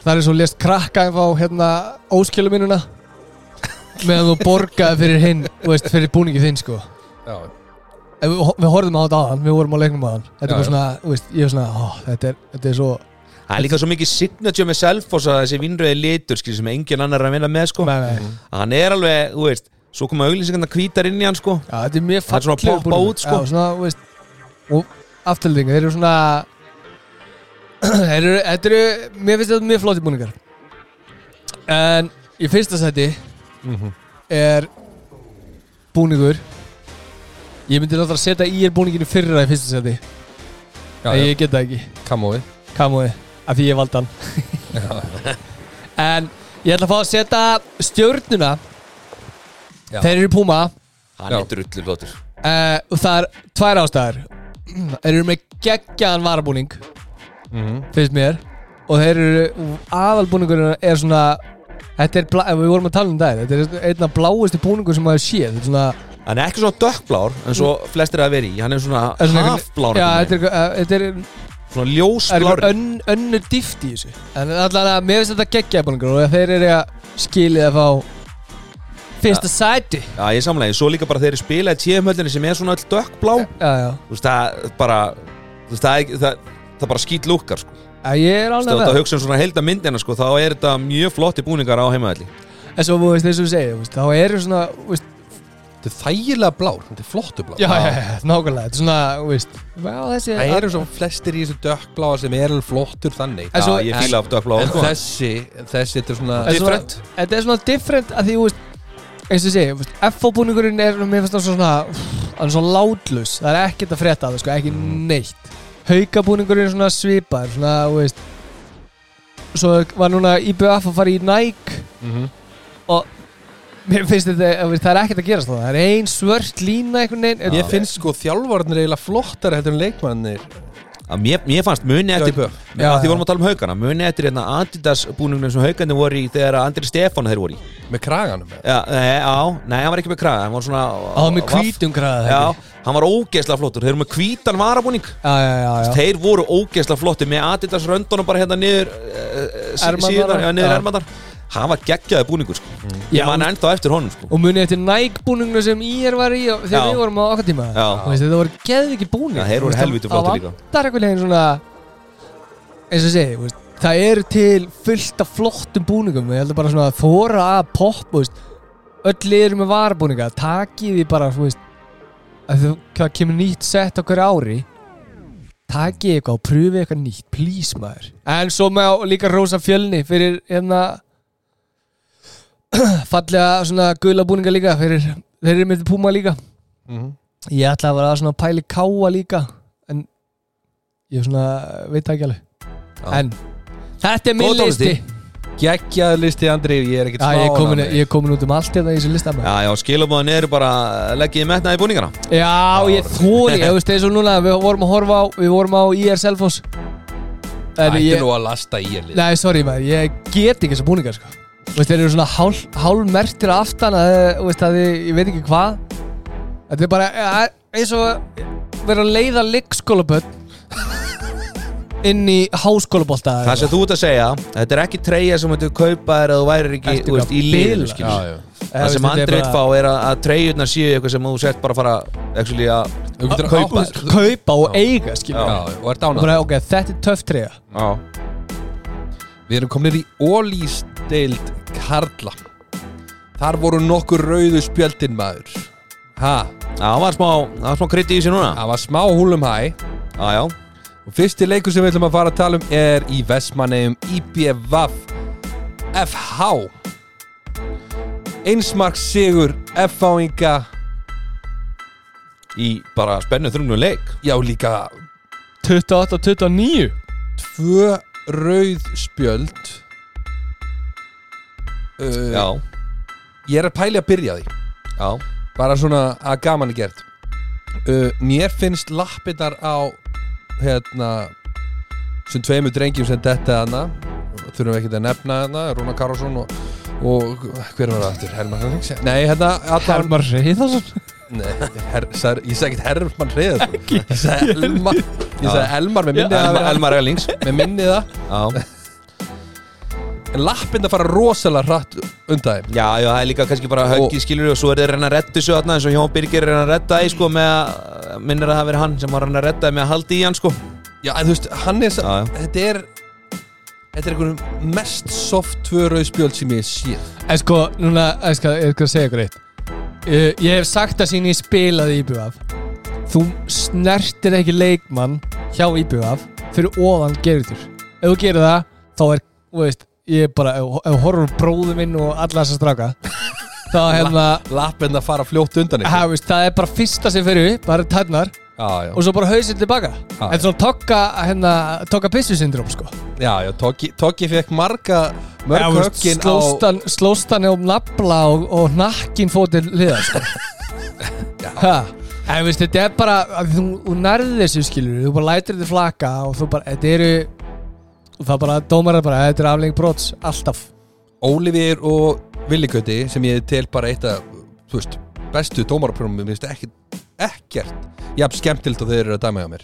Það er eins og lést krakka ef á hérna óskilumínuna meðan þú borgaði fyrir hinn, þú veist, fyrir búningi þinn sko Já, Ef við, við horfðum á þetta aðan, við vorum á leiknum aðan Þetta Já, er bara já. svona, þú veist, ég er svona ó, þetta, er, þetta er svo Það er líka svo mikið signature með Selfoss að þessi vinnröði litur skil, sem engin annar er að vinna með sko. með, Mhm. með. Hann er alveg, þú veist, svo koma auglýsingarna hvítar inn í hann sko. Já, þetta er mjög Það er svona að fallegur poppa búningur. út, sko. Já, svona, þú veist, og afturlending, þeir eru svona þeir eru, þetta eru mér finnst þetta mjög flóti búningar en í fyrsta sæti er búningur ég myndi náttúrulega setja í er búninginu fyrra í fyrsta sæti já, en já. ég get það ekki Kamói. Kamui af því ég valdi hann en ég ætla að fá að setja stjórnuna Já. þeir eru í Puma Hann Já. er drullu lótur. uh, og það er tvær ástæður þeir eru með geggjaðan varabúning Mhm. finnst mér og þeir eru aðalbúningurinn er svona þetta er, bla, við vorum að tala um það þetta er einna bláusti búningur sem maður sé þetta er svona Hann er ekki svona dökkblár, en svo flestir að vera í. Hann er svona er svona einhvern- hafblár. já, einhvern þetta veginn. er, uh, þetta er, Svona er ljósblár. ön, önnu dýft í þessu en allan að mér finnst þetta geggjaðan búningur og þeir eru að skilja að fá fyrsta sæti Já, ég samlega. Svo líka bara þeir eru spilaði tíðumhöllinni sem er svona öll dökkblá. já, já Þú veist, það bara, þú veist, það, er- það, það bara skýt lúkar sko. Já, Ég er Þú alveg veist, með að hugsa um svona heilda myndina sko, þá er þetta mjög flotti búningar á heimaðalli. En svo, þú veist, eins og þú segir, þú veist, þá eru svona þú veist, Þetta er þægilega blár. Þetta er flottu blár. já, já, já, nákvæmlega Þetta er svona, þú veist Já, þessi Það eru svo flestir í þessu dökkbláa sem er alveg flottur þannig. En Já, svo- ég fíla af dökkblá. En þessi, þessi, þetta er svona... En svo- Þetta er svona different að því, þú veist eins og þú segir, þú veist, FO-búningurinn er mér finnst það svona, úff, hann er svona látlaus það er ekkert að frétta að það, sko, ekki neitt Haukabúningurinn er svona svipar svona, þú veist Svo var núna IBF að fara í Nike Mhm. Mér finnst þetta, þú veist, það er ekkert að gerast það Það er ein svört lína einhvern veginn Ég finnst sko þjálfarnir eiginlega flottar heldur en leikmannir. Að Mér, mér fannst muni Já, eftir í böf. Já, Já, því já. vorum að tala um haugana Muni eftir hérna Adidas búningnum sem haugandi voru í þegar að Andri Stefán þeir voru í Með kraganum. eða? Já, nei, á, nei, hann var ekki með kraga Hann var svona Á, með hvítum græða Já, hann var ógeðslega flottur Þeir eru með hvítan varabúning já, já, já, já. Þeir voru ógeðslega flottir með Adidas röndunum bara hérna niður uh, Ermarnar. síðan, já, niður Já. ermandar Hann var geggjaði búningur sko. Já, Ég man ennþá eftir honum sko. og munið eftir nækbúningna sem ég var í og þegar Já. við vorum á okkar tíma Já. Þú veist, þetta voru geðviki búning Já, þeir voru helvíti flottir líka. það vantar eitthvað leginn svona eins og ég segi, þú veist, það eru til fullt af flottum búningum ég heldur bara svona að þóra að popp þú veist, öll liður með varabúninga takið því bara þú veist, að þú, það kemur nýtt sett okkur ári takið eitthvað og pröfið eitthvað nýtt please maður en svo má líka rosa fjölni fyrir hérna fallega svona gula búninga líka fyrir þeir eru með púma líka Mhm. ég ætla að vera að svona pæli káa líka en ég svona veit það ekki alveg Já. en þetta er minn Góð listi tónlisti. Gekkjaður listi Andri, ég er ekkert Já, smá ég er komin, ánægður. ég er komin út um allt hérna í þessu lista maður. Já, já, skilabóðan eru bara leggjið metnaði í búningana Já, ég þóri, ég veist eins og núna við vorum að horfa á, við vorum á IR Selfoss en Ætti ég, nú að lasta í ég lið nei, sorry maður ég get ekki þessa búningar sko Þú veist, þeir eru svona hál, hálmertir aftan að, þú veist, að ég, ég veit ekki hvað þetta er bara eh, eins og vera að leiða leikskólaböld inn í háskólabolta Það sem þú ert að segja, þetta er ekki treyja sem þú kaupa þér að þú værir ekki, Ertu þú veist, í bara liðinu bilað? skilur. já Það sem andri vill fá er að, að treyjurnar séu eitthvað sem þú sett bara að fara actually, að Þú getur Kaupa átt- þér. kaupa og Já. eiga skilur Já, við. og er dánað bara, ok, þetta er töff treyja Já, Við erum komin í ólýsteild Karla Þar voru nokkur rauðu spjöldin maður Ha, það var smá, það var smá krytti í sig núna það var smá húlum hæ Já, já, Og fyrsti leikur sem við ætlum að fara að tala um er í Vestmanneum IBVF FH Einsmark Sigur F-fáinga í bara spennu þrunglu leik Já, líka 28 29 tvö rauð spjöld uh, Já, Ég er að pæli að byrja því já, bara svona að gaman er gert uh, mér finnst lappirnar á hérna sem tveimur drengjum sem detta hana þurfum við ekkert að nefna hana Rúna Karlsson og, og hver var það aftur? Herman Hreiðarsson? Nei, hérna allan, Hermar Reyðarsson nei, her, sær, ég sagði ekkert Herman Hreiðarsson ég sagði Elmar ég sagði Elmar með minni Elmar, það Elmar Elings með minni það Já, en lappirnar fara rosalega hratt undan þeim já, já, það er líka kannski bara höggi skilur og svo er þeir reyna að redda þessu þarna eins og Hjón Birgir er að reyna að redda því sko með að minnir að það veri hann sem var að reyna að redda því með að haldi í hann sko já, en þú veist, hann er Já, já. sa- þetta er þetta er einhverjum mest soft tvö rauð spjöld sem ég sé En sko, núna, ég skal, ég skal segja ykkur eitt uh, Ég hef sagt það sín ég spilaði IBF Þú snertir ekki leikmann hjá IBF fyrir ofan gerir Ef þú gerir það, þá er, þú veist, ég er bara, ef ef þú horfur bróðu minn og alla þessa straka Þá hefna, lappirnar fara fljótt undan ykkur ha, veist, það er bara fyrsta sem fyrir upp, bara tærnar Já, já, og svo bara hausinn tilbaka Já, Þetta er svona tokka, hérna, tokka pissu syndrom, sko já, já Tóki, tóki fekk marga mörg Já, já, þú veist, höggin á slóst hann- slóst hann um nafla og, og nakkin fótið liða sko. Ha. en veist, þetta er bara að þú, þú nærði þessu skilur þú bara lætir þetta flaka og þú bara þetta eru og það bara dómar bara þetta er afleng brots alltaf Ólifir og Villigöti sem ég tel bara eitt að þú veist, bestu dómaraprófum mér finnst ekki, ekkert jafn skemmtilt og þeir eru að dæma hjá mér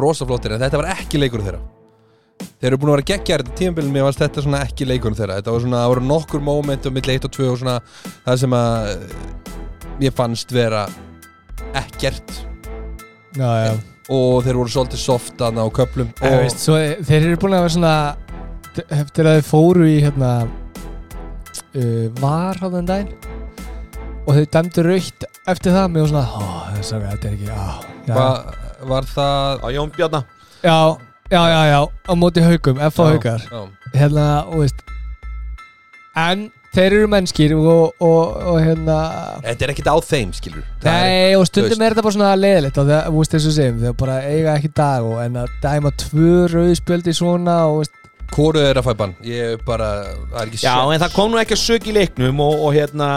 rosaflóttir en þetta var ekki leikur þeirra þeir eru búin að vera geggjar þetta tímabilin mér varst þetta svona ekki leikur þeirra þetta var svona, það voru nokkur moment og milli 1 og 2 og svona það sem að eh, mér fannst vera ekkert já, já. og þeir voru svolítið soft aðna á köplum En, og veist, svo, þeir eru búin að vera svona eftir að þeir fóru í hérna, uh, var á þann daginn og þeir dæmdu raukt eftir það með svona, ó, sorry, þetta er ekki á, já, Va, var það Á Jón Bjarnar Já, já, já, já, á móti haugum, FH haugar Já, Hérna, og veist En þeir eru mennskir og, og, og hérna Þetta er ekkert á þeim, skilur Nei, og þú stundum veist. er þetta bara svona leðilegt og það, þú veist þessu segjum, þau bara eiga ekki dag og en að dæma tvö rauðspjöldi svona og veist, Hvoru er að fæ bann? Ég er bara, það er ekki Já, sjans. en það kom nú ekki að sög í leiknum og, og hérna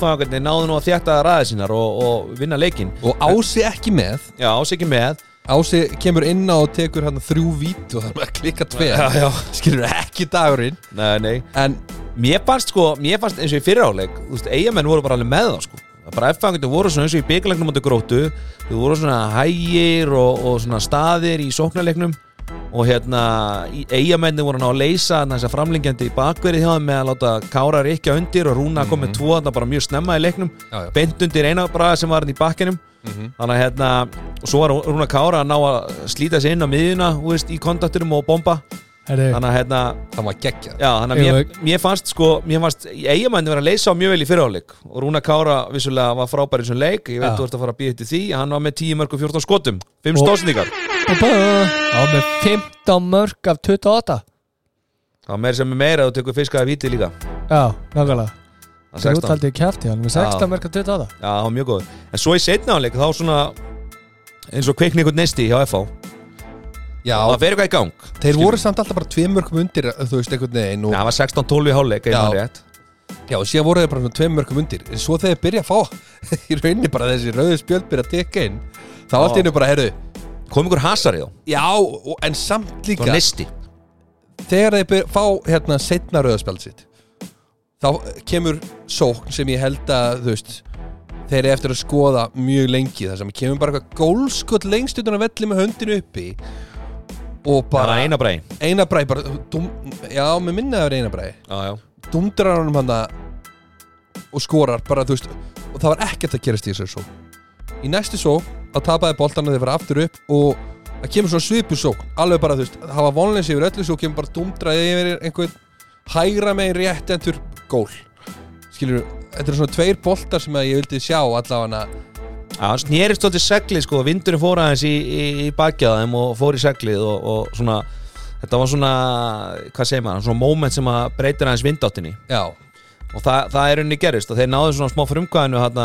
FH-göndin náðu nú að þjætta ræði sínar og, og vinna leikin Og Ási ekki með Já, ás ekki með Ási kemur inn á og tekur hann þrjú vít og það er að klika tveir Já, já. Skilur ekki dagurinn Nei, nei En Mér fannst sko, mér fannst eins og í fyrráleik Þú veist, eigamenn voru bara alveg með það sko bara FH-göndin voru svona eins og í byggaleknum átti gróttu Þau voru svona hægir og, og svona staðir í sóknarleiknum og hérna eigamenni voru hann á að leysa þarna þessa framlengjandi bakverið hjá þeim með að láta Kára rikja undir og Rúna kom með tvo þarna bara mjög snemma í leiknum Mhm. Já, Mhm. já. bent undir eina braga sem var hann í bakkinum þannig að hérna og svo var Rúna Kára að ná að slíta sig inn á miðjuna þú veist, í kontakturum og bomba Herri, þannig að hérna Það var geggjað Já, þannig Eigum að mér, við- mér fannst sko, mér fannst eigamændi verið að leysa á mjög vel í fyrirháleik og Rúna Kára vissulega var frábær í þessum leik ég veit Já. þú ert að fara að býja eftir því, hann var með 10 mörg og 14 skotum, 5 Og- stóðsendingar á með 15 mörg af 28 það meir sem er meira að þú tekur fiskaði víti líka Já, nákvæmlega Það er Þegar 16. útaldið kæfti hann með 16 Já. mörg af 28 Já, það var mjög góð en svo í setna áleik, þá svona eins og kveikni ykkur nesti hjá FH Já, það fer eitthvað í gang, þeir voru samt alltaf bara tveim mörgum undir Þú veist, einhvern veginn Já, og, það var 16-12 í háleik Já. rétt. Já, og síðan voru þeir bara svona tveim mörgum undir En svo þegar þeir byrja að fá Í rauninni bara þessi rauðu spjöld byrja að teka inn Þá allt í einu bara, herðu kom ykkur hasarið Já, og, en samt þá, líka nesti Þegar þeir byr, fá hérna setna rauðu spjöld sitt Þá kemur sókn sem ég held að, þú veist Þeir eru eftir að skoða mjög lengi Það sem kemur bara eitthvað gólskott lengst utan að velli með höndinu uppi Og það bara var eina brei Einabræði bara, dum, já, mér minna það er Einabræði já, já. Dundrar honum hann og skorar bara, þú veist og það var ekkert að gerast í þessari sók í næstu sók, þá tapaði boltan að þeir vera aftur upp og það kemur svona svipu sók alveg bara, þú veist, það var vonleins yfir öllu svo kemur bara dumdraði yfir einhvern hægra megin rétt endur gól skilur, þetta er svona tveir boltar sem að ég vildi sjá allavega Já, hann snerist þótti seglið sko, vindurinn fór aðeins í, í, í bakjaðum og fór í seglið og, og svona, þetta var svona, hvað segir maður, svona moment sem að breytir aðeins vindáttinni já, og það, það er unni gerist og þeir náðu svona smá frumkvæðinu hérna,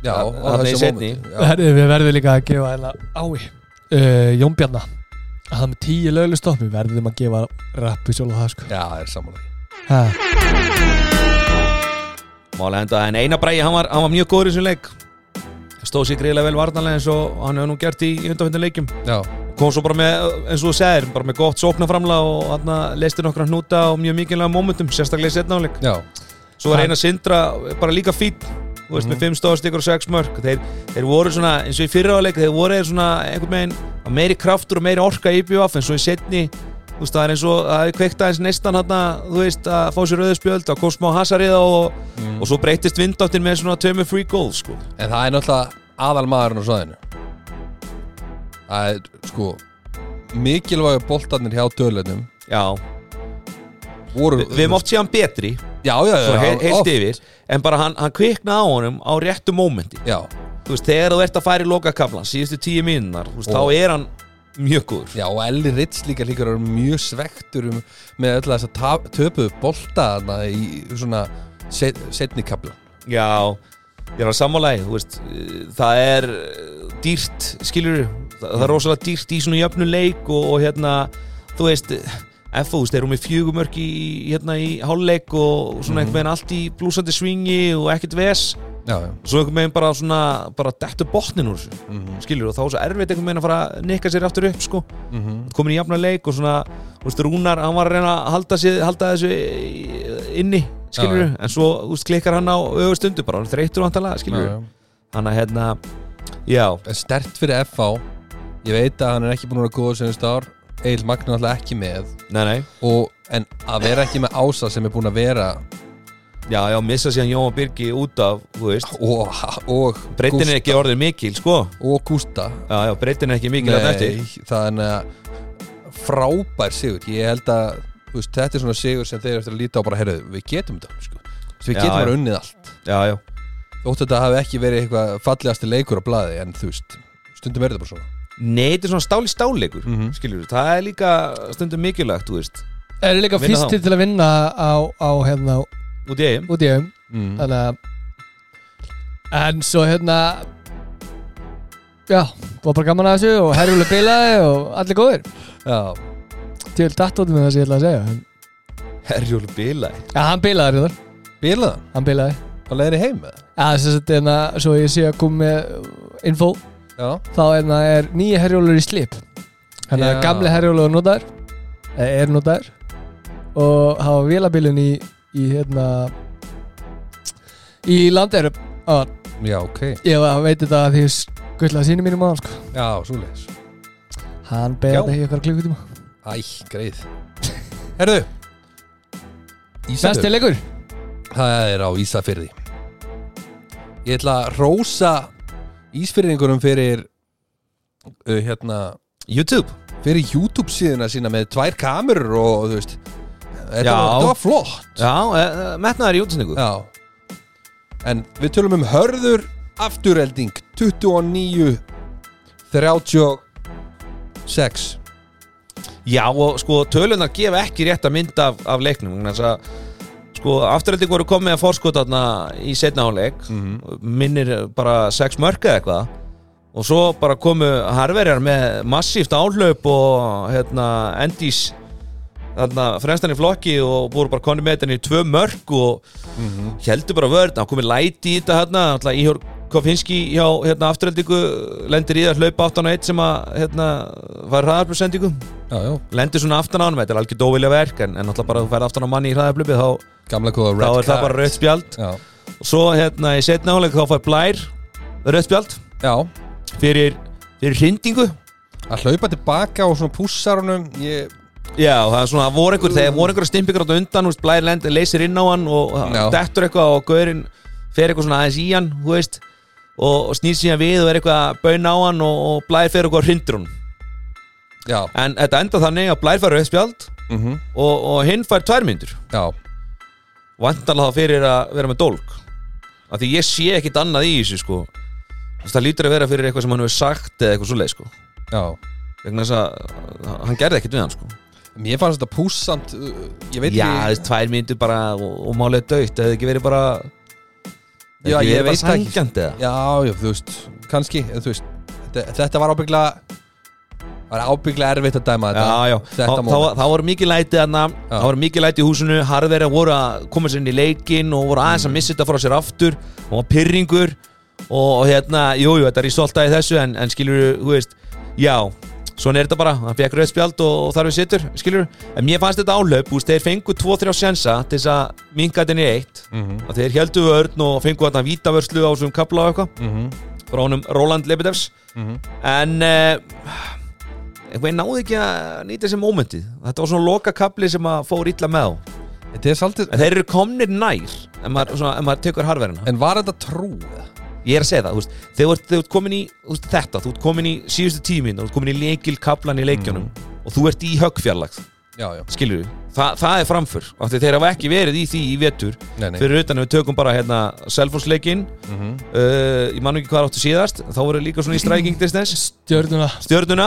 já, Það- á þarna í þessu seinni. mómenti, já. Herri, við verðum líka að gefa hérna ái uh, Jón Bjarna hann með 10 löglustopp við verðum að gefa rappi svolítið það sko já, það er samanlega ha, málega henda, en Einar Bræði, hann var, hann var mjög góður í þessum leik, stóð sér greiðlega vel varnarlega eins og hann hefur nú gert í, í undanfjöndin leikjum, já, kom svo bara með, eins og þú segir, bara með gott sóknarframlega og hérna leistir nokkra hnúta og mjög mikilvæga momentum, sérstaklega í setna áleik. já, Svo var eina sindra bara líka fýtt Þú veist, Mhm. með 5 stóðstíkur og 6 mörg þeir, þeir voru svona, eins og í fyrraðleik þeir voru þeir svona, einhvern veginn að meiri kraftur og meiri orka í BVF en svo í setni þú veist, það er eins og, það er kveikt aðeins nestan hann þú veist, að fá sér rauðspjöld að kom smá hasariða og, Mm. og svo breytist vindáttin með svona tömur free goal sko. en það er náttúrulega aðalmaðurinn á svæðinu það er sko mikilvægur boltarnir hjá dölunum Já, voru, við erum oft síðan betri já, já, já, svo já, he- oft. heilt yfir, en bara hann, hann kviknaði á honum á réttu mómenti já, þú veist, þegar þú ert að færi lokakaflan síðustu tíu mínunar, þú veist, Og- þá er hann mjög góður já, og Elli Ritz líka líka er mjög svektur um, með öll þess að töpuðu bolta þarna í svona set, setni kapla Já, ég er að sammálaði, þú veist, eh, það er eh, dýrt, skilur, það, það er rosalega dýrt í svona jöfnu leik og, og hérna, þú veist, F, þú veist, þeir eru með fjögumörk í, hérna, í hálfleik og svona einhvern veginn allt í blúsandi svingi og ekkert ves já, já, og svo einhvern veginn bara svona, bara dettu botnin úr þessu, Mhm. skilur, og þá er svo erfitt einhvern veginn að fara að nikka sér aftur upp, sko, komin í jafna leik og svona, þú veist, Rúnar, hann var að reyna að halda, sér, halda þessu í- inni, Já, skilur, en svo, þú veist, klikkar hann á öfu stundu bara, hann er þreytur vantalega, já, skilur, já. þannig að, hérna, já, En stert fyrir FH ég veit að hann er ekki búin að vera góður sem þessi ár Egil Magna alltaf ekki með nei, nei, og, en að vera ekki með Ása sem er búin að vera já, já, missa síðan Jóma Birgi út af, þú veist, og, og, breytin er ekki orðin mikil, sko, og Gústa já, já, breytin er ekki mikil að eftir, þannig að frábær sigur ég held að þú veist, þetta er svona sigur sem þeir eru eftir að líta á bara heyrðu, við getum þetta sko. Þú veist, við Já, getum já. bara unnið allt já, já, þótt að þetta hafi ekki verið eitthvað fallegasti leikur á blaði en þú veist, stundum er þetta bara svona nei, þetta er svona stáli stáleikur, mm skilur, það er líka stundum mikilvægt, þú veist, er líka Vinna fyrstir þá. til að vinna á, á hérna út í eigum, út í um mm. þannig að en svo hérna já, var bara gaman að þessu og herjuleg bilaði og allir góðir já, til dattóti með þessi ég ætla að segja en, herjúlu bílaði. já, hann bilaði hérna, bilaðan hann bilaði á leiðinni heim með Já, þess að hérna, svo ég sé að koma með info, já, þá hérna er nýja herjólur í slip Þannig Já. að gamli herjólur er notaður eða er notaður og hafa vélabilun í, í hérna í landerum og já, ok ég var- veit þetta að því skuttlaði sínum mínum á sko. já, svo leiðis Hann Já. beðið í okkar klukkutíma Æ, greið Herðu Besti Ísafjörð, leikur það er á Ísafjörði Ég ætla að rósa Ísfyrringunum fyrir uh, hérna YouTube fyrir YouTube síðuna sína með tvær kamerur og þú veist Þetta Já. var, þetta var flott Já, eh, metnaður í útsendingu Já En við tölum um hörður afturrelding 29 36 Já, og sko tölunar gefa ekki rétt að mynd af, af leiknum vegna þess að sko afturhalding voru komið að fórskotarna í setna áleik Mhm. minnir bara sex mörka eða eitthvað og svo bara komu harverjar með massíft áhlaup og hérna endís þarna fremstan í flokki og voru bara konni með þetta í tvö mörk og heldur bara vörð, það komið læti í þetta hérna, alltaf Íhjór Kofinski hjá hérna, afturhaldingu lendir í það hlaupa 8-1 sem að hérna, var hraðarbrúsendingu Já, já, lendir svona aftan á hann, þetta er algjör dóvilja verk en, en alltaf bara þú ferð aftan á manni í hraðablöpi þá, gamla kóða þá red er það card. bara rautt spjald Já, og svo hérna í setna áleik þá fær Blær rautt spjald já fyrir, fyrir hrindingu að hlaupa tilbaka og svona pússar honum ég, já, það er svona, það voru einhver, þegar voru einhver stimpingar átt undan, þú veist, Blær lendir, leysir inn á hann og hann Já. dettur eitthvað og gaurinn fer eitthvað svona aðeins í hann, þú veist og, og snýr síðan við og er eitthvað að bauna á hann og, og Blær fer eitthvað hrindur hún já, en þetta enda þannig að Blær fær rautt spjald mm og, og hinn fær tvær myndur já, vantarlega þá fyrir að vera með dólk af því ég sé ekkit annað í þessu sko Þess, það lítur að vera fyrir eitthvað sem hann hefur sagt eða eitthvað svoleið sko já vegna þess að hann gerði ekkit við hann sko mér fannst þetta pússamt uh, ég veit já ekki þess tvær myndir bara og, og málið er dautt eða ekki verið bara Já, ég veit það ekki. sangjant eða já, já, þú veist, kannski eða þú veist, þetta, þetta var ábyggla var ábyggla erfitt að dæma þetta Já, já, Þa, þetta það, moment. það voru mikið læti þarna Það voru mikið læti í húsinu Harverja voru að koma sér inn í leikin Og voru Mhm. aðeins að missa þetta frá sér aftur Og var pyrringur Og, og hérna, jújú, jú, þetta er í soltaði þessu En, en skilur, þú veist, já Svona er þetta bara, hann fekk rauðspjald og, og þar við situr Skilur, en mér fannst þetta áhlaup þú veist, Þeir fengu 2-3 sjensa til þess að minga þetta inn í eitt Mhm, að Þeir heldu vörn og fengu þarna vítavörslu á þessum kapla og eitthvað mhm, frá honum Roland Lebedevs Mhm. en uh, einhvern veginn náði ekki að nýta þessi mómentið þetta var svona loka kapli sem að fór illa með á þetta er svolítið en þeir eru komnir nær en maður, svona, en maður tekur harverina en var þetta trú eða? ég er að segja það, þú veist, þegar þú ert- þegar þú ert komin í þú veist, þetta, þú ert komin í síðustu tímin þú ert komin í leikil kaplan í leikjunum Mm. og þú ert í höggfjarlag, já, já, skilur við Þa, það er framför, af því þeir hafa ekki verið í því í vetur, nei, nei fyrir utan ef við tökum bara hérna, selfhúsleikin mhm, uh, ég man ekki hvað áttu síðast þá voru líka svona í striking distance Stjörnuna stjörnuna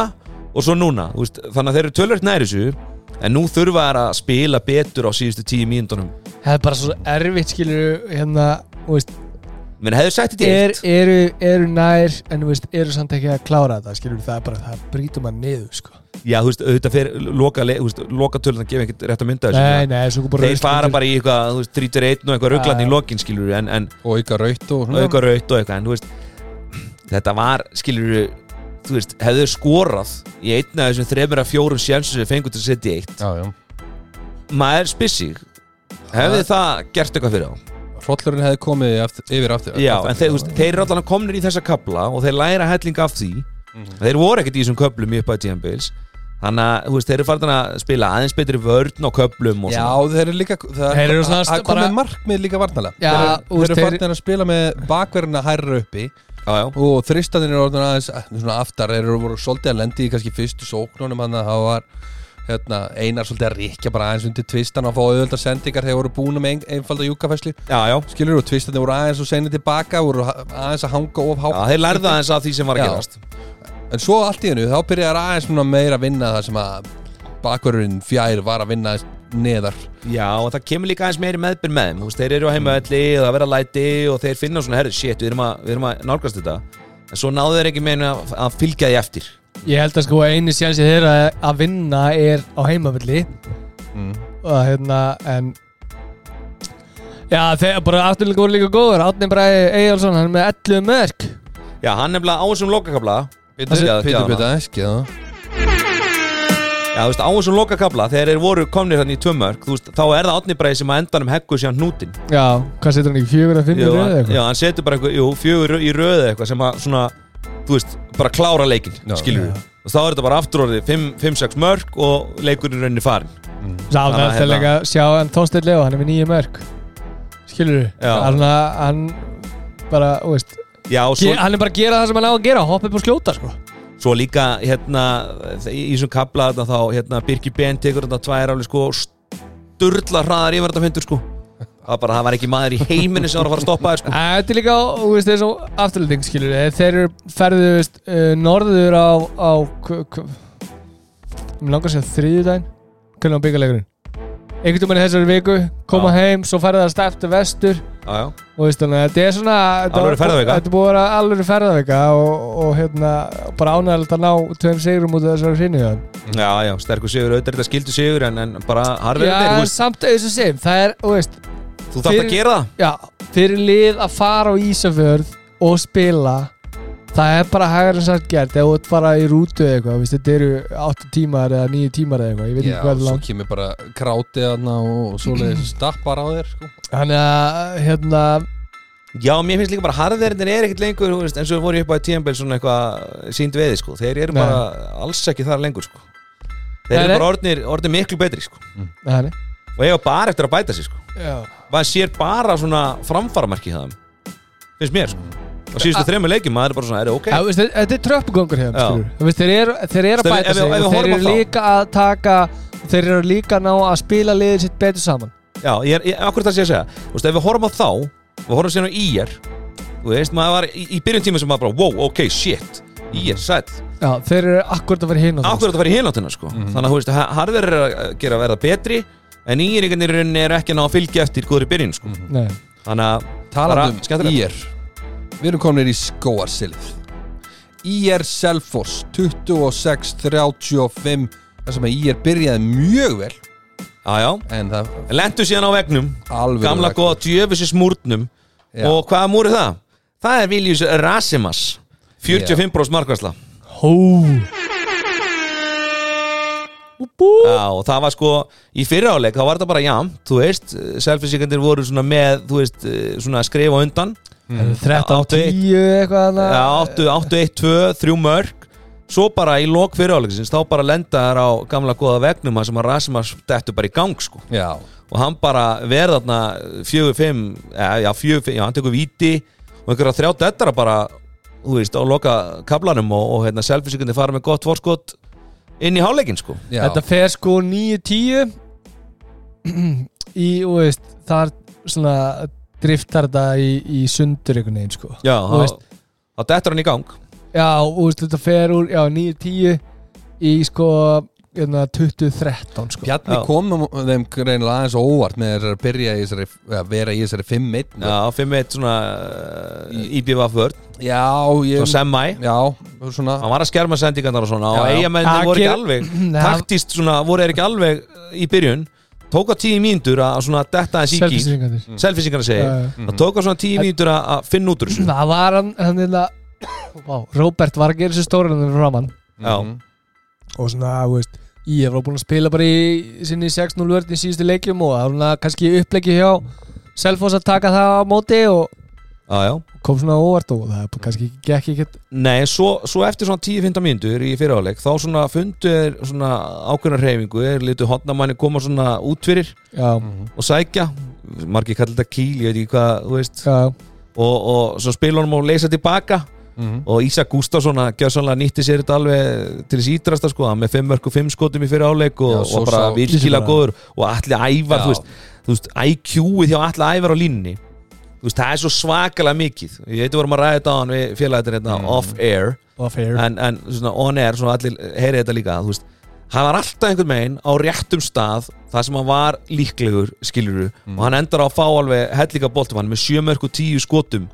og svo núna þú veist, þannig að þeir eru tölvöld næri þessu en nú þurfa þeir að spila betur á síðustu tíu mínúndunum Það er bara svo erfitt skilur hérna þú veist, menn hefur sett þetta er, er, eru, eru nær en þú veist, eru samt ekki að klára þetta skilur það er bara, það brýtur maður niður sko. já, þú veist, auðvitað fyrir loka, le- þú veist, loka tölvöld gefa ekkert rétt að mynda Nei, þessu nei, svo bara þeir fara bara í eitthvað, þú veist, 31 og eitthvað rugglarni í lokin skilur en, en og auka raut og svona auka raut og eitthvað en þú veist, þetta var skilur þú veist, hefur skorað í einna af þessum þremur að fjórum sjansum sem þeir fengu til að setja í eitt já, já, maður spissig hefði það gert eitthvað fyrir á hrollurinn hefði komið aftur, yfir aftur já, aftur- en þeir, þú veist, þeir eru allan komnir í þessa kapla og þeir læra helling af því Mhm. þeir voru ekkert í þessum köplum í upphæði tíðanbils þannig að þú veist, þeir eru farin að spila aðeins betri vörn á köplum og Já, svona þeir eru líka það- Þeir eru svona að- að bara- komið markmið líka varnalega Já, Þeir eru- þú Þeir veist, eru þeir- farnir að spila með bakverðina hærra uppi já, já. og þristanir eru orðin aðeins eh, svona aftar, þeir eru voru svolítið að lendi í kannski fyrstu sóknunum hann að það var hérna, einar svolítið að ríkja bara aðeins undir tvistan og fá auðvöldar sendingar þegar voru búin með ein, einfalda júkafæsli já, já, skilur og tvistanir voru aðeins og senið tilbaka voru ha- aðeins að hanga of já, hátt þeir lærða aðeins af því sem var að Já. gerast en svo allt í hennu þá byrjar aðeins svona meira að vinna það sem að bakverðurinn fjær var að vinna aðeins neðar já, og það kemur líka aðeins meiri meðbyr með þeim þú veist, þeir eru á heimavelli og það verða læti og þeir finna svona, herri, shit, við erum að, við erum að nálgast þetta en svo náðu þeir ekki meina að, að fylgja því eftir Ég held að sko einu sjansi þeirra að vinna er á heimavilli mm. og hérna, en Já, þeir bara afturlega voru líka góður Átni Bræði Eyjálsson, hann er með 11 mörk já, hann nefnilega á þessum lokakafla Pítur, Já, já, pítur, já. pítur, eski það Já, þú veist, á þessum lokakabla, þegar þeir voru komnir þannig í tvömörk, þú veist, þá er það átnibræði sem að endanum heggur síðan hnútin. Já, hvað setur hann ekki? Fjögur að fimm í Jú, röð eða hann- eitthvað? Já, hann setur bara eitthvað, jú, fjögur í röðu eitthvað sem að svona, þú veist, bara klára leikinn, Já, skilur við. og þá er þetta bara aftur orðið 5-6 mörg og leikurinn rauninni farin Sá, það Þannig að er hérna- leika að sjá hann Tónsteinn Leo, hann er með nýju mörg Skilur du? Já. Hann, hann bara, þú veist Já, og svo, ge- Hann er bara að gera það sem hann á að gera Hoppa upp og skjóta, sko svo líka hérna, í í þessum kapla þarna, þá hérna, Birgir Ben tekur þetta tvær alveg sko sturla hraðar yfir þetta hundur sko það, var bara, það var ekki maður í heiminu sem var að fara að stoppa þér Æ, sko Þetta er líka, þú veist, eins og afturlending, skilur du Þeir eru ferðu, þú veist, uh, norður á, á k- k- Mér langar að segja þriðjudaginn Hvernig á byggalegurinn Einhvern tímann í þessari viku, koma heim Svo ferðu það stæftu vestur já, já. og veist þannig að þetta er svona þetta Alvöru var- ferðavika. þetta er búið að vera alveg ferðavika og, og hérna bara ánægilegt að ná tveim sigrum út af þessari hrinni já, já, já, sterkur sigur, auðvitað er þetta skildu sigur en, en bara harfið já þetta, en þú, veist, samt eins og sem það er, þú veist, þú þarft fyrir- að gera það já fyrir lið að fara á Ísafjörð og spila það er bara hægur en sagt gert ef þú ert bara í rútu eða eitthvað, þú veist, þetta eru 8 tímar eða 9 tímar eða eitthvað, ég veit Já, ekki hvað er svo langt kemur bara krátið þarna og svoleiðis stappar á þér sko. þannig að hérna, Já, mér finnst líka bara harðverðin er ekkert lengur þú veist, eins og við vorum upp á tíðanbel svona eitthvað sínd veði sko, þeir eru Nei. bara alls ekki þar lengur sko Þeir Nei, eru nei. bara orðnir, orðnir miklu betri sko þannig og eiga bara eftir að bæta sig sko já maður sér bara svona framfaramarki það finnst mér sko á síðustu þremur leikjum maður er bara svona, er ok Já, veist, þetta er tröppugangur Já. hérna, skilur Þeir eru, þeir eru að Þeir- bæta ef við- sig ef við og þeir horfum eru á þá. líka að taka þeir eru líka að ná að spila liðið sitt betur saman Já, ég er, ég, akkur það sé að segja Þú veist, ef við horfum á þá, við horfum síðan á IR þú veist, maður var í, í byrjun tíma sem maður bara, wow, ok, shit IR, sæll, Já, þeir eru akkurat að vera hinn á það akkur þetta var í hináttina sko Mhm. þannig að, þú veist, harður er að gera að verða betri en IR einhvern veginn í rauninni er ekki að ná að fylgja eftir góðri byrjun sko Nei, þannig að, Talað Bara Mhm. um skemmtilegt. IR Við erum komin í skóarsilið IR Selfoss 26-35 Það sem að IR byrjaði mjög vel já, já En það Lentu síðan á vegnum, alveg gamla góða djöfisins múrnum Já. og hvaða múr er það? Það er Viljus Rasimas 45 brós markværsla hó Úbú Já, og það var sko í fyrra áleik þá var þetta bara jam, þú veist selfisíkandir voru svona með, þú veist eh, svona skrif á undan, 13 á Áttu Mm. eitt. 10 eitthvað Já, hana 8, 8, 1, 2 3 mörg, svo bara í lok fyrra áleiksins, þá bara lenda þær á gamla góða vegnum, þar sem að Rasimas dettu bara í gang, sko, Já, og hann bara verða þarna 4, 5 já, 4, 5, já, hann tekur víti og einhverja þrjá dettara bara þú veist, á loka kablanum og, og hérna selfisíkandir fara með gott vorskot inn í háleikin, sko já Þetta fer sko 9-10 í, þú veist, þar svona driftar þetta í, í sundur einhvern veginn sko Já, Þú veist- þá þá dettur hann í gang Já, og þú veist, þetta fer úr já, 9-10 í sko hérna, 20-13 sko. Bjarni Já. komum þeim greinilega aðeins á óvart með þessari að byrja í þessari að vera í þessari 5-1 Já, 5-1 svona uh, IBVF vörð, Já, svo ég semi Já, svona Hann var að skerma sendingarnar og Já, svona og já. eigamennir Það voru ekki gerir- alveg Nei, hann- taktist svona, voru þeir ekki alveg eh, í byrjun tók á tíu mínútur að svona detta aðeins í gýr, Selfisýringarnir. selfisingarna Já, segir já. Mhm. það tók á svona tíu mínútur að að finna út úr þessu Það var hann, hann hérna, vá, Robert var að gera þessu stóran hérna fyrir framann Já, Mhm, og svona, þú veist, ég var búin að spila bara í sinni 6-0 vörðin í síðustu leikjum og það var svona kannski upplegi hjá Selfoss að taka það á móti og já, já kom svona á óvart og það bara kannski gekk ekkert Nei, svo, svo eftir svona 10-15 mínútur í fyriráleik þá svona fundu þeir svona ákveðna hreyfingu, þeir litu hotnamanni koma svona út fyrir Já, mhm, og sækja margir kallar þetta kýl, ég veit ekki hvað, þú veist já, og, og svo spila honum og leysa tilbaka Mhm. og Ísak Gustafsson að gjössanlega nýtti sér þetta alveg til þess ídrasta sko, hann með 5 mörg og 5 skotum í fyrir áleik og, Já, og svo bara sá- virkilega Lýsir bara- góður og allir ævar, Já. þú veist, þú veist IQ-ið hjá allir ævar á línni þú veist, það er svo svakalega mikið ég veit við vorum að ræða þetta á hann við félagættir hérna Mm. off-air og fair en, en svona on-air, svona allir heyri þetta líka þú veist, hann var alltaf einhvern veginn á réttum stað þar sem hann var líklegur skiluru Mm. og hann endar á að fá alveg hellika boltum hann með 7 mörg og 10 skotum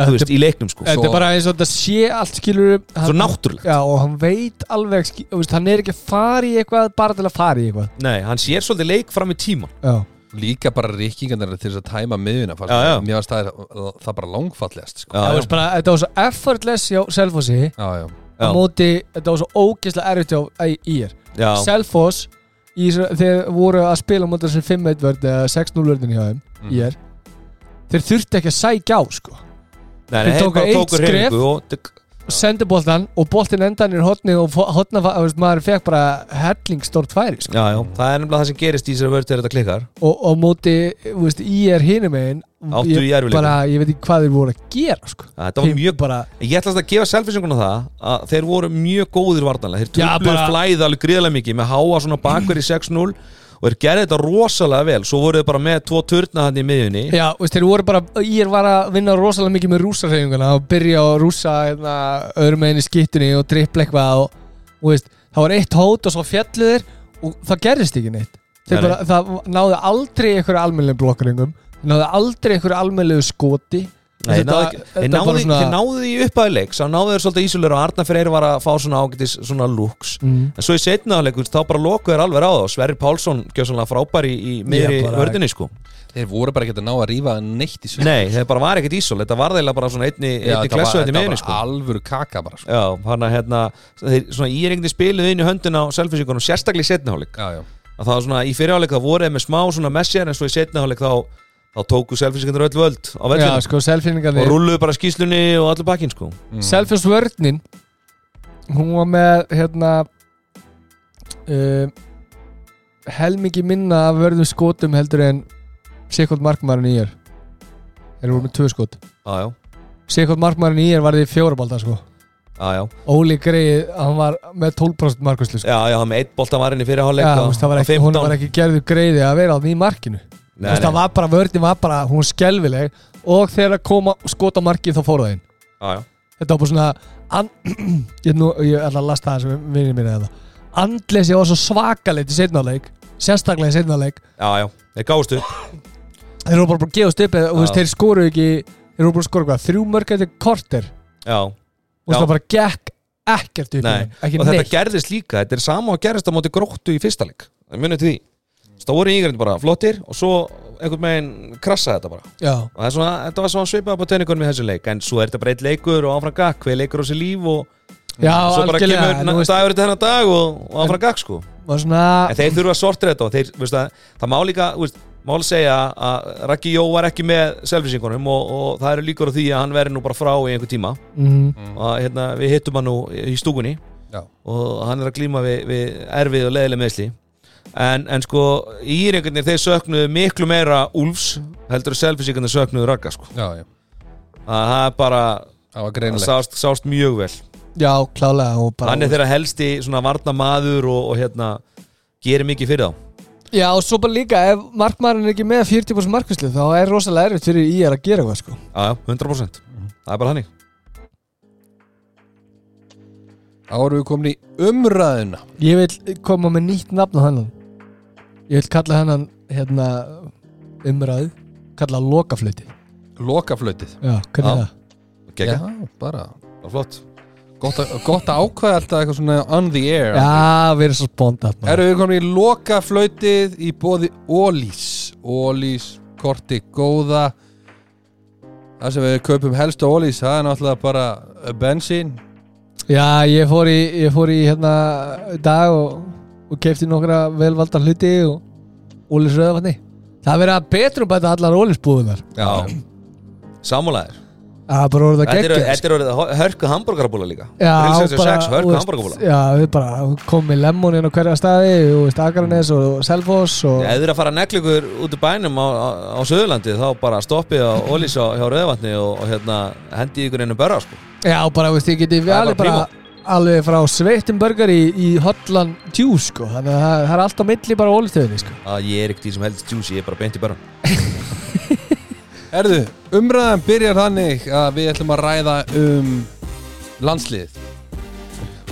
þú veist, í leiknum sko Þetta Svo- er bara eins og þetta sé allt skilur svo náttúrulegt Já og hann veit alveg skil- þú veist, Hann er ekki að fara í eitthvað bara til að fara í eitthvað Nei, hann sér svolítið leik fram í tíman Já, Líka bara rikkingarnar til þess að tæma miðuna fannst Já, já. mér. Mér varst það, það bara langfallegast sko. það var bara, þetta var svo effortless hjá Selfossi Já, já á móti, þetta var svo ógeðslega erfitt hjá í- ír já, Selfoss í þessu- þeir voru að spila á móti þessum 5-1 vörð eða 6-0 vörðin hjá þeim Mm. ír Þeir þurfti ekki að sækja á sko nei, þeir nei, tóku bara eitt tóku skref. hreyfingu og, sendi boltan og boltin endan er hotnið og fo- hotna, fa- þú veist, maður fekk bara hellingstórt færi sko. Já, já, það er nefnilega það sem gerist í þessari vörð þegar þetta klikkar og, og móti, þú veist, í er hinum einn Áttu í erfiðleikum. bara, ég veit ekki hvað þeir voru að gera sko. Þetta var Þeir mjög bara, Ég ætla að gefa selfinsinguna það að þeir voru mjög góðir vartanlega Þeir Já, töfluðu bara- flæðið alveg gríðlega mikið með háa svona bakverð í 6-0 og þeir gerði þetta rosalega vel svo voru þeir bara með tvo turna hann í miðjunni já, þú veist, þeir voru bara ég var að vinna rosalega mikið með rúsarhefinguna og byrja að rúsa hérna, öðrum einn í skittunni og drippla eitthvað og, og veist, það var eitt hót og svo fjalluðir og það gerðist ekki neitt Nei, þeir bara, það náði aldrei einhverju almennlega blokkaringum náði aldrei einhverju almennlega skoti Nei, þeir Þetta- náðu ekki- þeir þetta er bara náðu- þeir náðu því upphæði leik þá náðu þeir svolítið ísulur og Arna Freyr var að fá svona ágætis svona looks mm. en svo í setnaðalegur þá bara lokuðu þeir alveg á það og Sverri Pálsson gjör svona frábæri í miðri Já, bara- vörðinni sko Þeir voru bara ekki að ná að rífa neitt í Nei, þeir bara var ekkert ísul þetta var þeirlega bara svona einni, einni þetta var, klessu þetta var þetta í miðjunni sko bara alvöru kaka bara sko. Já, hann að hérna þeir, svona íringni spiluð inn í höndina á selfinsíkunum sérstaklega í setniháleik Já, já að það var svona í fyrirháleik það voru þeir með smá svona messjar en svo í setniháleik þá, þá tóku selfinsíkundur öll völd á já, vellinu sko, og selfinningarnir rulluðu bara skýslunni og allur bakkinn sko Mm. Selfjörns vörninn hún var með hérna uh, helmingi minna af vörðum skotum heldur en Sikkold markmaðurinn í er þeir voru með tvö skot Já, já, Sikkold markmaðurinn í er var því fjórabalda sko já, já, Óli Greið, hann var með 12% markuslu sko. já, já með eitt bolta var inn í fyrirháleik Já, þú veist, það var ekki, hún var ekki gerðu greiði að vera á því markinu Þú nei, veist, það nei, var bara, vörðin var bara, hún var skelvileg og þegar það kom að skota markið þá fór það inn já, já, þetta var bara svona an, ég, nú, ég ætla að lasta það sem vinir mér eða andleysi hérna. var svo svakalegt í setnáleik sérstaklega í setnáleik já, já, þeir gáðust upp þeir eru bara bara að gefast upp eða, þú veist, Já. þeir skoru ekki þeir eru bara að skora hvað, þrjú mörg eftir korter Já, og Já. það bara gekk ekkert upp í Nei. þeim, ekki og þetta neitt gerðist líka þetta er sama og gerðist á móti gróttu í fyrsta leik munið til því, stóri ígrind bara flottir og svo einhvern veginn krassaði þetta bara já, og það er svona, þetta var svona svipað upp á tennikunum í þessu leik en svo er þetta bara eitt leikur og áfram gakk hver leikur á sér líf og já svo bara algjörlega kemur en þú na- veist, dagur þetta hennar dag og, og áfram gakk sko var svona en þeir þurfa að sortira þetta og þeir, veist það, það má líka þú veist, má alveg segja að Raki Jó var ekki með selvisingunum og, og það eru líkur á því að hann verði nú bara frá í einhver tíma mm, og að, hérna, við hittum hann nú í stúkunni Já. og hann er að glíma við, við erfið og leðileg meðsli en, en sko írengarnir þeir söknuðu miklu meira Úlfs heldur að selvisingarnir söknuðu Raka sko Já, já að það er bara Það var það greinlega sást, sást mjög vel já, klálega og bara hann er þeirra helsti svona varnamaður og, og hérna gerir mikið fyrir þá já, og svo bara líka ef markmaðurinn er ekki með 40% markuslu þá er rosalega erfitt fyrir í að gera eitthvað sko já, já, 100% Mhm. það er bara hannig Þá erum við komin í umræðuna Ég vil koma með nýtt nafn á hennan Ég vil kalla hennan hérna umræð kalla hann lokaflöti Lokaflötið Já, hvernig Já. er það? Gekka, bara það er flott Gott að, gott að ákvæða alltaf eitthvað svona on the air Já, við erum svo bóndat Erum við komin í lokaflötið í bóði Ólís Ólís, korti góða Það sem við kaupum helst á Ólís Það er náttúrulega bara uh, bensín Já, ég fór í, ég fór í hérna í dag og, og kefti nokkra velvalda hluti og Ólis Röðavatni Það er verið að betrum bæta allar Ólis búðunar já, samúlæðir Það er bara orðið að þetta eru- gegja þetta eru orðið hörku hambúrgarabúla líka Já, Grillsins er sex, hörku hambúrgarabúla já, við bara komum með lemmonin á hverja staði og veist, Akranes og Selfoss og ef þið eru að fara að negla ykkur út í bænum á, á, á Söðurlandi þá bara stoppið á Ólís á, hjá Rauðavatni og, og hérna hendi ykkur einu börra sko. Já, bara veist, ég geti Það við er alveg bara bara alveg frá sveittumburgar í, í Holland Juice, sko, þannig að það, það er allt á milli bara ólistöðinni, sko. að ég er ekkert í sem helst juice, ég er bara beint í börran Erðu, umræðan byrjar þannig að við ætlum að ræða um landslið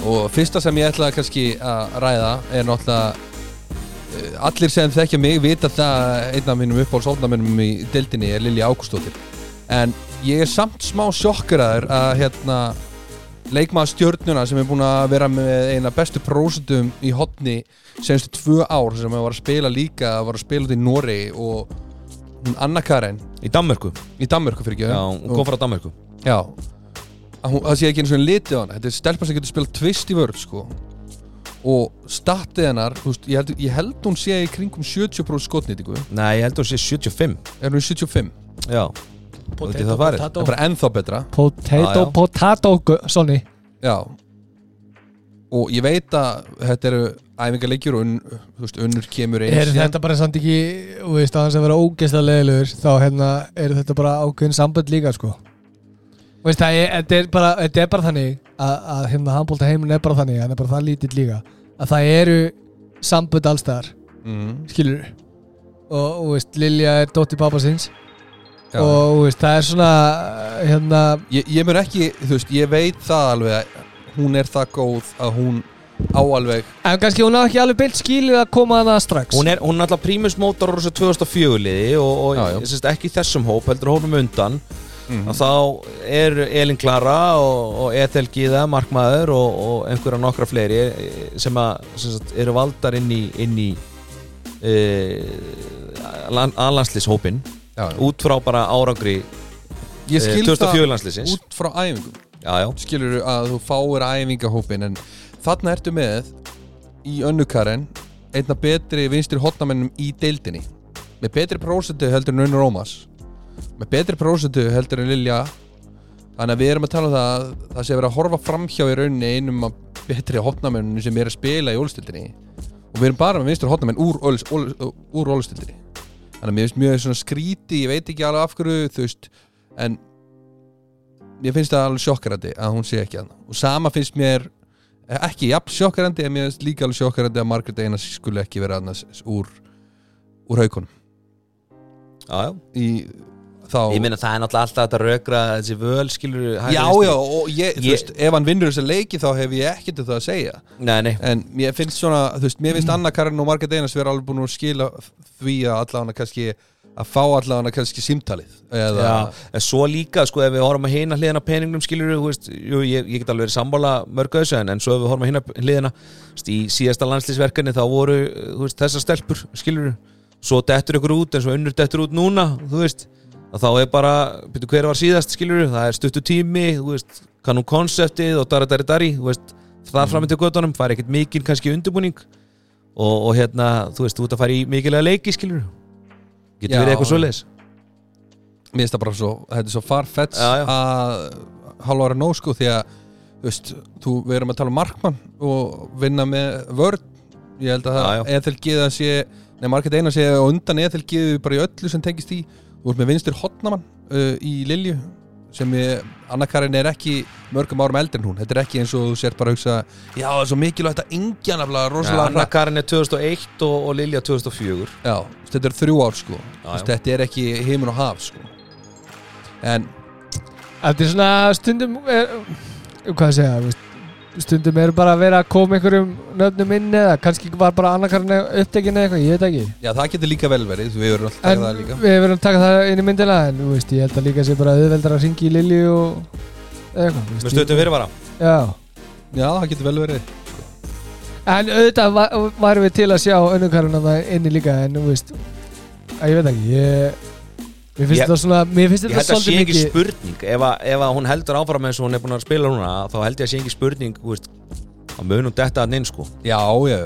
og fyrsta sem ég ætla kannski að ræða er náttúrulega eh, allir sem þekkja mig vita það að einn af mínum uppáhaldsóknarmennum í deildinni er Lilja Ágústóttir en ég er samt smá sjokkeraður að hérna leikmaður stjörnuna sem er búin að vera með eina bestu prósentum í hotni senstu tvö ár sem hann var að spila líka var að spila út í Noregi og hún Anna Karen í Danmörku, í Danmörku fyrir ekki já, hún kom frá Danmörku já Að hún, það sé ekki eins og litið á hana þetta er stelpa sem getur spilað tvist í vörð sko. og statið hennar þú veist, ég, held, ég held hún sé í kringum 70% skotnýtingu Nei, ég held að hún sé 75 er hún í 75 Já, veit ég það farið. Það er bara ennþá betra Potato, Já, já. potato, gu- Sonny Já Og ég veit að þetta eru æfingarleikjur og unn, þú veist, unnur kemur eins Er þetta bara samt ekki, þú veist, aðeins að vera ógeðslega leiðilegur, þá hérna er þetta bara ákveðin sambönd líka, sko. Þú veist, það er, þetta er bara, þetta er bara þannig að, að hérna handbólta heiminn er bara þannig, hann er bara það lítill líka, að það eru sambönd allstaðar, mm, skilur og, þú veist, Lilja er dótti pappa síns já. og, þú veist, það er svona, hérna, ég, ég mér ekki, þú veist, ég veit það alveg að hún er það góð að hún á alveg en kannski hún á ekki alveg beilt skilið að koma að það strax. Hún er, hún er alltaf prímus mótor úr þessu 2004 liði og, og Já, já. Mhm. já, já. ekki í þessum hóp, heldur hópum undan að þá er Elin Klara og, og Ethel Gíða, Markmaður og, og einhverja nokkra fleiri eh, sem að sem sagt, eru valdar inn í, inn í e, uh, alanslýshópin já, já. út frá bara árangri Ég eh, skil 2004 það landsliðsins út frá æfingum já, já, skilur að þú fáir æfingahópin en þarna ertu með í önnukaren einna betri vinstri hotnamennum í deildinni með betri prósentu heldur en Unnur Ómas með betri prósentu heldur en Lilja þannig að við erum að tala um það að það sé verið að horfa framhjá í rauninni einum af betri hotnamennum sem er að spila í ólstildinni og við erum bara með vinstri hotnamenn úr, óls- óls- úr ólstildinni þannig að mér finnst mjög svona skríti ég veit ekki alveg af hverju þú veist en mér finnst það alveg sjokkarandi að hún sé ekki að og sama finnst mér eh, ekki jafn sjokkarandi en mér finnst líka alveg sjokkarandi að Margaret Einars skulle ekki vera annars úr, úr haukunum já, já. í þá ég meina það er náttúrulega alltaf þetta rökra þessi völ skilur já já og ég, þú Ég- veist ef hann vinnur þessa leiki þá hef ég ekkert um það að segja nei, nei. en mér finnst svona þú veist mér finnst Anna Karin og Margaret Einars vera alveg búin að skila því að allavega kannski að fá allavega kannski símtalið eða Já, en svo líka, sko, ef við horfum að hina hliðina á peningnum, skilur við, veist, jú, ég, ég get alveg verið sammála mörgu af þessu, en, en svo ef við horfum að hina hliðina, þú veist, í síðasta landslýsverkefni þá voru, þú veist, þessar stelpur, skilur við, svo dettur ykkur út, en svo unnur dettur út núna, þú veist, að þá er bara, byrju, hver var síðast, skilur við, það er stuttu tími, þú veist, kannum konseptið og dari, dari, dari, þú veist, það mm. framöndi göttunum, fær ekkert mikinn kannski undirbúning og, og hérna, þú veist, þú ert að fara í mikilega leiki, skilur getur Já, verið eitthvað já. svoleiðis mér finnst það bara svo, þetta er svo farfets Já, já. að halvara nóg sko því að þú veist, þú, við erum að tala um markmann og vinna með vörn ég held að Já, það eðal geða sé nei, markið eina sé og undan eðal geðu bara í öllu sem tengist í þú ert með vinstur hotnamann uh, í Lilju sem ég, Anna-Karin er ekki mörgum árum eldri en hún, þetta er ekki eins og þú sér bara að hugsa, já það er svo mikilvægt að engja nafnilega Ja, rosalega Anna hratt Karin er 2001 og, og Lilja 2004 já, þú veist, þetta er þrjú ár sko Þú já. veist, þetta er ekki heimin og haf sko en Þetta er svona stundum er, hvað að segja þú veist, stundum er bara að vera að koma einhverjum nöfnum inn eða kannski var bara annakarinn upptekinn eða eitthvað, ég veit ekki Já, það getur líka vel verið, við erum alltaf en takað það líka við verðum að taka það inn í myndina en þú veist, ég held að líka sé bara auðveldar að ringi í Lilju og eða eitthvað þú með veist, stöðum fyrirvara ég- Já, Já, það getur vel verið en auðvitað va- værum við til að sjá önnukarinn að það inni líka en þú veist, að ég veit ekki ég, mér finnst Ég- þetta svona mér finnst ég þetta held að sé svolítið ekki mikið spurning ef, að, ef að hún heldur áfram eins og hún er búin að spila núna þá held ég að sé ekki spurning þú veist, að mun hún detta hann inn sko Já, já,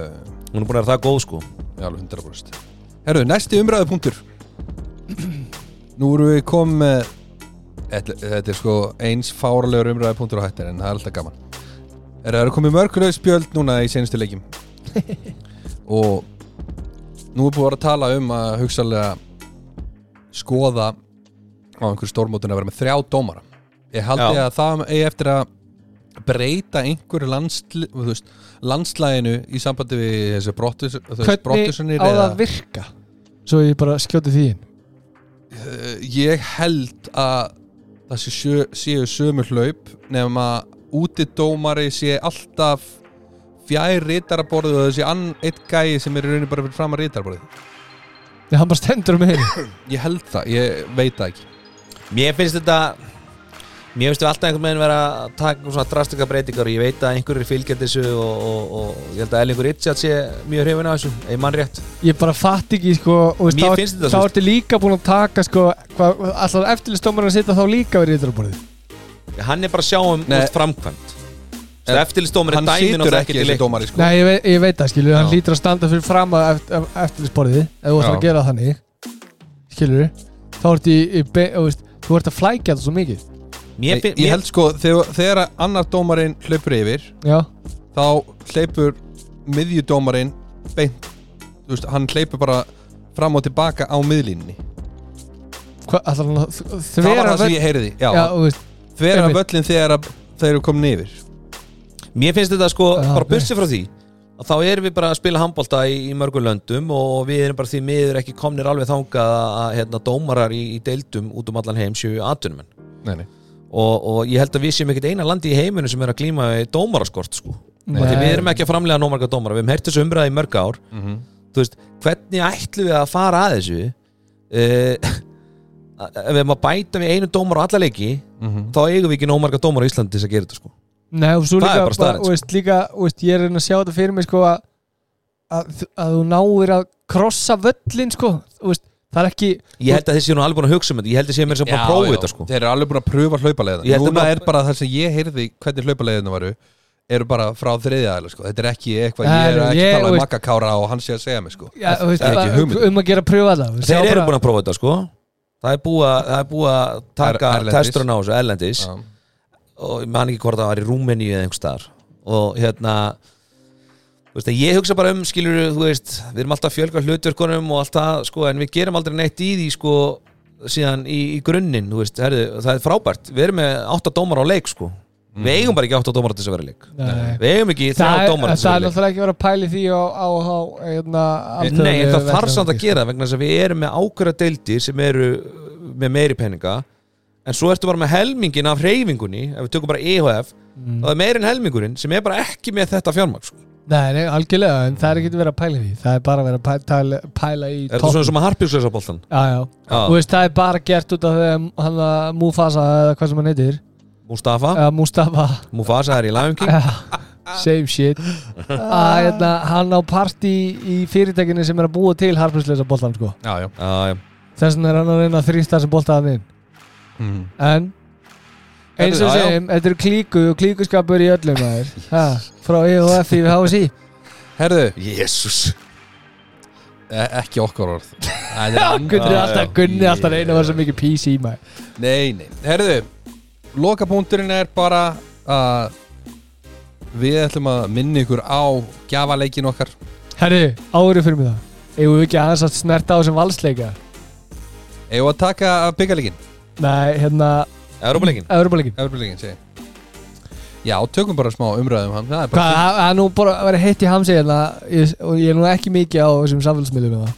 hún er búin að vera það góð sko já, alveg 100% Herru, næsti umræðupunktur Nú erum við komið með Þetta þetta er sko eins fáralegur umræðupunktur á hættin en það er alltaf gaman Er það eru komið mörguleg spjöld núna í senustu leikjum og nú er búið að vera að tala um að hugsalega skoða á einhverju stórmótun að vera með þrjá dómara Ég haldi Já. að það eigi eftir að breyta einhverju landsl, þú veist, landslæginu í sambandi við þessu brottus, hvernig á það að virka svo ég bara skjóti því inn Eh, ég held að það sé sjö, séu sömu hlaup nefnum að útidómari sé alltaf fjær rítaraborðið og þessi ann eitt gæi sem er í rauninni bara fyrir fram að rítaraborðið Nei, hann bara stendur um einu ég held það, ég veit það ekki mér finnst þetta mér finnst við alltaf einhvern veginn vera að taka svona drastika breytingar og ég veit að einhverjir fylgjandi þessu og, og, og ég held að Ellingur Richard sé mjög hrifin af þessu ef mann rétt Ég bara fatt ekki sko og veist, Mér þá- finnst þetta Þá svo- ertu líka búin að taka sko hvað, Allar eftirlistómurinn að sitja þá líka við ríðarborðið hann er bara að sjá um Nei. Nei. framkvæmt eftirlistómar er hann dæmin og situr ekki það ekki til þessi leik dómari sko. Nei, ég, ve ég veit það skilur Hann Já. lítur að standa fyrir fram að eft eftirlisborðið Ef þú ætlar Já. að gera þannig Skilur Þá ertu í, í be og veist, Þú ert að flækja þetta svo mikið Mér Ég, finn, ég held sko, þegar, þegar að annar dómarinn hlaupur yfir, Já, þá hlaupur miðjudómarinn beint, þú veist, hann hlaupur bara fram og tilbaka á miðlínni hvað allar hann að þ- það var þvera það sem ég heyriði, já, Já, þú veist, þvera einmitt. völlin þegar að þeir eru komin yfir Mér finnst þetta sko, Já, bara ok. bursi frá því að þá erum við bara að spila handbólta í, í mörgum löndum og við erum bara því miður ekki komnir alveg þangað að, að hérna, dómarar í, í deildum út um allan heim séu atvinnumenn nei, nei. og, og ég held að við séum ekkert eina landi í heiminu sem er að glíma við dómaraskort sko. Nei. Af því við erum ekki að framlega nómarga dómara við hefum hert þessu umræði í mörg ár Mm -hmm. þú veist, hvernig ætlum við að fara að þessu uh, ef við erum að bæta við einu dómar á alla leiki mhm. þá eigum við ekki nómarga dómar á Íslandi til þess að gera þetta sko. Nei, og svo Það er líka, bara staðreynd, sko. þú veist, líka þú veist, ég er að reyna að sjá þetta fyrir mig sko, að, að, að þú náir að krossa völlin sko, þú veist, það er ekki ég held að þessi er nú alveg búin að hugsa um þetta ég held að þessi er mér sem bara að prófa þetta sko. þeir eru alveg búin að pröfa hlaupaleiðina Ég held að núna bara- er bara það sem ég heyrði hvernig hlaupaleiðina varu eru bara frá þriðja aðeins sko. þetta er ekki eitthvað, ég Nei, er nei, ekki að ég- tala veist- um makkakára og hann sé að segja mig sko. já, þú veist, það er ekki að- hugmynd. um að gera pröfa það þeir eru búin að prófa þetta sko. það er búið að, það er búið að taka Er- erlendis. testurinn á þessu erlendis Já. og ég man ekki hvort það var í Rúmeníu eða einhver staðar og hérna þú veist, en ég hugsa bara um skilur þú veist, við erum alltaf að fjölga hlutverkunum og allt það, sko, en við gerum aldrei neitt í því sko, síðan í, í grunninn þú veist, herri, það er frábært, við erum með átta dómar á leik, sko við eigum bara ekki átta dómar til þess að vera leik Nei. við eigum ekki það þrjá er dómar til þess að það er vera leik náttúrulega ekki verið að pæli því á, á, á hérna, einna, Nei, en það þarf sko. samt að gera það vegna þess að við erum með ákveðra deildir sem eru uh, með meiri peninga en svo ertu bara með helmingin af reyfingunni ef við tökum bara EHF Mm. þá er meiri en helmingurinn sem er bara ekki með þetta fjármagn sko. Nei, nei, algjörlega, en það er ekki verið að pæla í því það er bara verið að pæla, tala- pæla í er þetta topp- svona sem að harpjúsleisa boltan Já, já, þú veist, það er bara gert út af því að hann að Mufasa eða hvað sem hann heitir, Mustafa, eða Mustafa Mufasa er í um Lion King same shit að hérna, hann á parti í fyrirtækinu sem er að búa til harfnusleisa boltan sko. Já, já. Já, já. þess vegna er hann að reyna að þrýsta þessi boltan inn Mhm. en eins og Þetta- já, já. segjum, þetta eru klíku og klíkuskapur í öllum maður ha, frá EOF í HSI herðu, Jésús e ekki okkar orð Það er Ah, Gunni annað. er alltaf, Gunni er alltaf að reyna að vera svo mikið PC maður Nei, nei, herðu Lokapunkturinn er bara að við ætlum að minna ykkur á gjafaleikin okkar herru, árið fyrir mig það eigum við ekki aðeins að snerta á þessum valsleika Eða að taka byggaleikin, nei, hérna, Európa-leikin Európa-leikin Evropaleikin Mm, segi ég. Já, tökum bara smá umræðum hann Það er Hvað, bara það það er nú bara að vera heitt í hamsi hérna ég- og ég er nú ekki mikið á þessum samfélagsmiðlum hérna.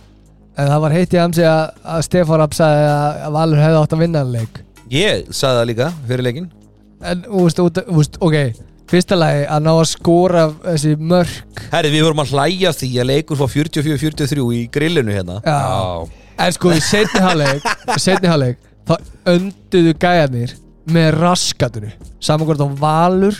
en það var heitt í hamsi að, að Stefán Rapp sagði að, að Valur hefði átt að vinna hann leik Ég sagði það líka fyrir leikin en þú veist, út- þú veist, ok fyrsta lagi að ná að skora þessi mörk Herri, við vorum að hlæja því að leikur fór 44-43 í grillinu hérna Já. Já, en sko í setni hálfleik setni hálfleik þá önduðu gæjarnir með raskatunni saman hvort á Valur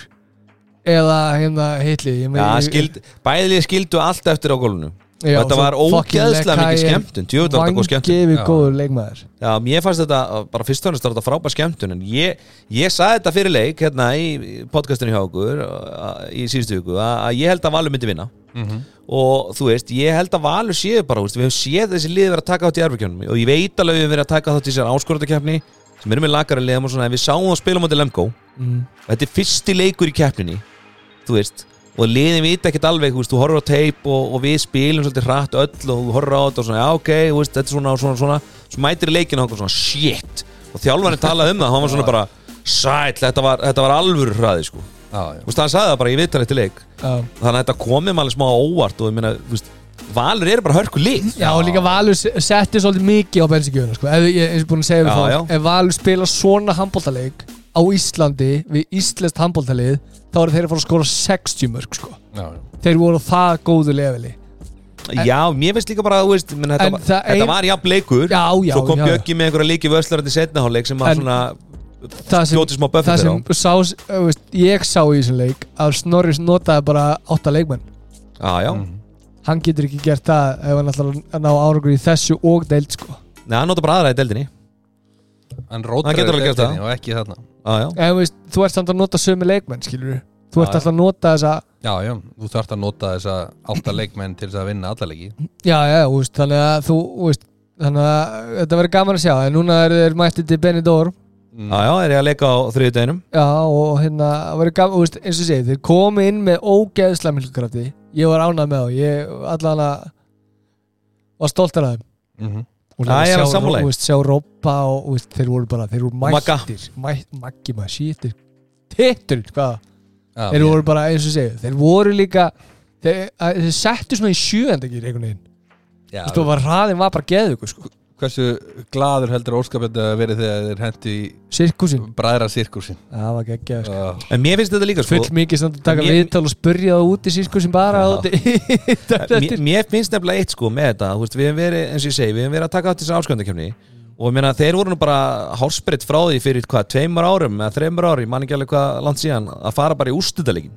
eða hérna hitli ég, Já, skild, bæðilega skildu allt eftir á gólfinu Já, Þetta svo var fucking ógeðslega mikið Lekayer, skemmtun, djöfull var þetta góð skemmtun. Vangefi Já. góður leikmaður Já, mér fannst þetta, bara fyrst og hannast var þetta frábær skemmtun en ég, ég saði þetta fyrir leik hérna í í podcastinu hjá okkur uh, í síðustu viku að að ég held að Valur myndi vinna Mhm. og þú veist, ég held að Valur séu bara, þú veist, við höfum séð þessi liði vera að taka þátt í erfarkjörnum og ég veit alveg að við höfum verið að taka þátt í sér áskoratakefni sem erum við lakari liðum og svona en við sáum það spila móti Lemko mm. og þetta er fyrsti leikur í keppninni þú veist og liðin vita ekkert alveg, þú veist, þú horfir á teip og, og við spilum svolítið hratt öll og þú horfir á þetta og svona, já ok, þú veist, þetta er svona og svona, svona, svo mætir í leikinu og hann kom svona, shit og þjálfarinn talaði um það, hann var svona bara sæll, þetta var, þetta var alvöru hraði sko, þú já, já veist, hann sagði það bara, ég veit hann eftir leik Já, þannig að þetta komið maður smá á óvart og ég meina, þú veist, Valur eru bara hörku lið já og líka Valur se- setti svolítið mikið á bensíkjöfuna sko. Ef- ég eins og búin að segja við Já, fólk, já. ef Valur spila svona handbóltaleik á Íslandi við Íslandst handbóltalið þá eru þeir að fara að skora 60 mörg sko. Já, já. þeir voru á það góðu leveli já, mér finnst líka bara, þú veist, menn, Mm. En þetta, það þetta ein- var jafn leikur Já, já, svo kom já, já. Bjöggi með einhverja líki vöslarandi setnahálleik sem En- að svona það sem, skjóti smá böffi það fyrir á sem sá, ö, veist, ég sá í þessum leik að Snorris notaði bara átta leikmenn Já, já, Mm. hann getur ekki gert það ef hann ætlar að ná árangur í þessu og deild sko. Nei, hann nota bara aðra í deldinni Hann Hann rótar getur alveg gert það. og ekki þarna Já, já, en, þú veist, þú ert samt að nota sömu leikmenn skilur þú Já, já. ert alltaf að nota þessa Já, já, þú þarft að nota þessa átta leikmenn til þess að vinna alla leiki Já, já, þú veist, þannig að þú, þú veist, þannig að þetta verður gaman að sjá en núna eru þeir mættið til Benidorm Já, já, er ég að leika á þriðudeginum já og hérna það verður gaman, þú veist, eins og segið þeir komi inn með ógeðsla mjölkrafti ég var ánað með þá, ég allan að var stoltan af þeim Mhm. og Já, ég er sjá, sammála því. þú veist, sjá Robba og þú veist, þeir voru bara, þeir voru Magga. mættir mæ- Maggi maður, sítir tittur, hvað Já, þeir voru bara eins og segið, þeir voru líka þeir, að, þeir settu svona í sjöendagir einhvern veginn, já, þú veist, og var hraðin var bara geðu ykkur, sko, Hversu gladur heldur óskapet að verið þegar þeir hendi í sirkusin bræðra sirkursin það var geggjaður, sko uh, En mér finnst þetta líka sko full mikið samt að taka Mér- viðtal og spurja það út í sirku sem bara Já. átti mér, mér finnst nefnilega eitt sko með þetta þú veist, Við hefum verið, eins og ég segi, við hefum verið að taka átt þessi áskjöndakefni Og ég meina, þeir voru nú bara hálsbreytt frá því fyrir hvað, tveimur árum eða þreimur ári, ég man ekki alveg hvað land síðan að fara bara í ústutalegin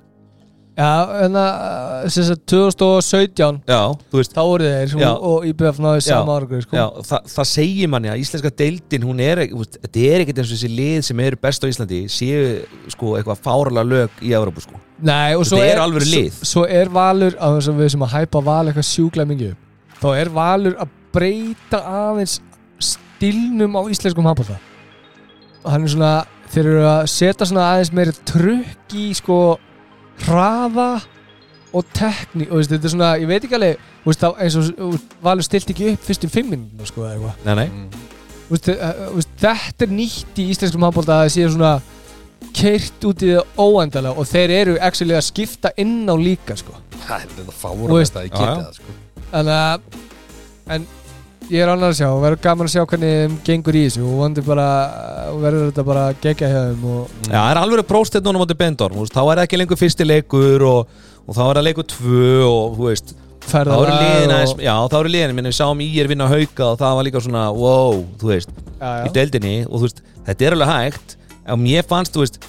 Já, en að sem sagt 2017 Já, þú veist, þá voru þeir Já. og, og IBF náði Já. sama ára sko. já, þa það segir manni að íslenska deildin hún er, ekki- þú veist, þetta er ekkert eins og þessi lið sem eru best á Íslandi séu sko eitthvað fáralega lög í Európa sko Nei, og svo Þetta er, er alvöru lið. svo, svo er valur að þess að við sem að hæpa val eitthvað sjúklega mingi upp þá er valur að breyta aðeins stilnum á íslenskum handbólta hann er svona þeir eru að setja svona aðeins meiri trukk í sko hraða og tekní og veist, þetta er svona, ég veit ekki alveg þú veist, þá eins og þú veist, valur stilt ekki upp fyrstum fimm minnum sko, eða eitthvað Nei, nei, Þú veist, eh, þú veist, þetta er nýtt í íslenskum handbólta að það sé svona keirt út í það óendalega og þeir eru actually að skipta inn á líka sko. Það er þetta Þú fárum veist- þetta, ég Já, geti já. það sko. en, uh, en ég er annar að sjá og verður gaman að sjá hvernig þeim gengur í þessu og vonandi bara og verður þetta bara gegja hjá þeim og Já, það er alveg próstið núna mútið Bendorm þú veist, þá er það ekki lengur fyrsti leikur og, og þá er það leikur tvö og þú veist, þá ferða eru liðin aðeins og, já, þá eru liðin, minn við sáum í er vinna hauka og það var líka svona, wow, þú veist já, í já. deildinni og þú veist, þetta er alveg hægt og mér fannst, þú veist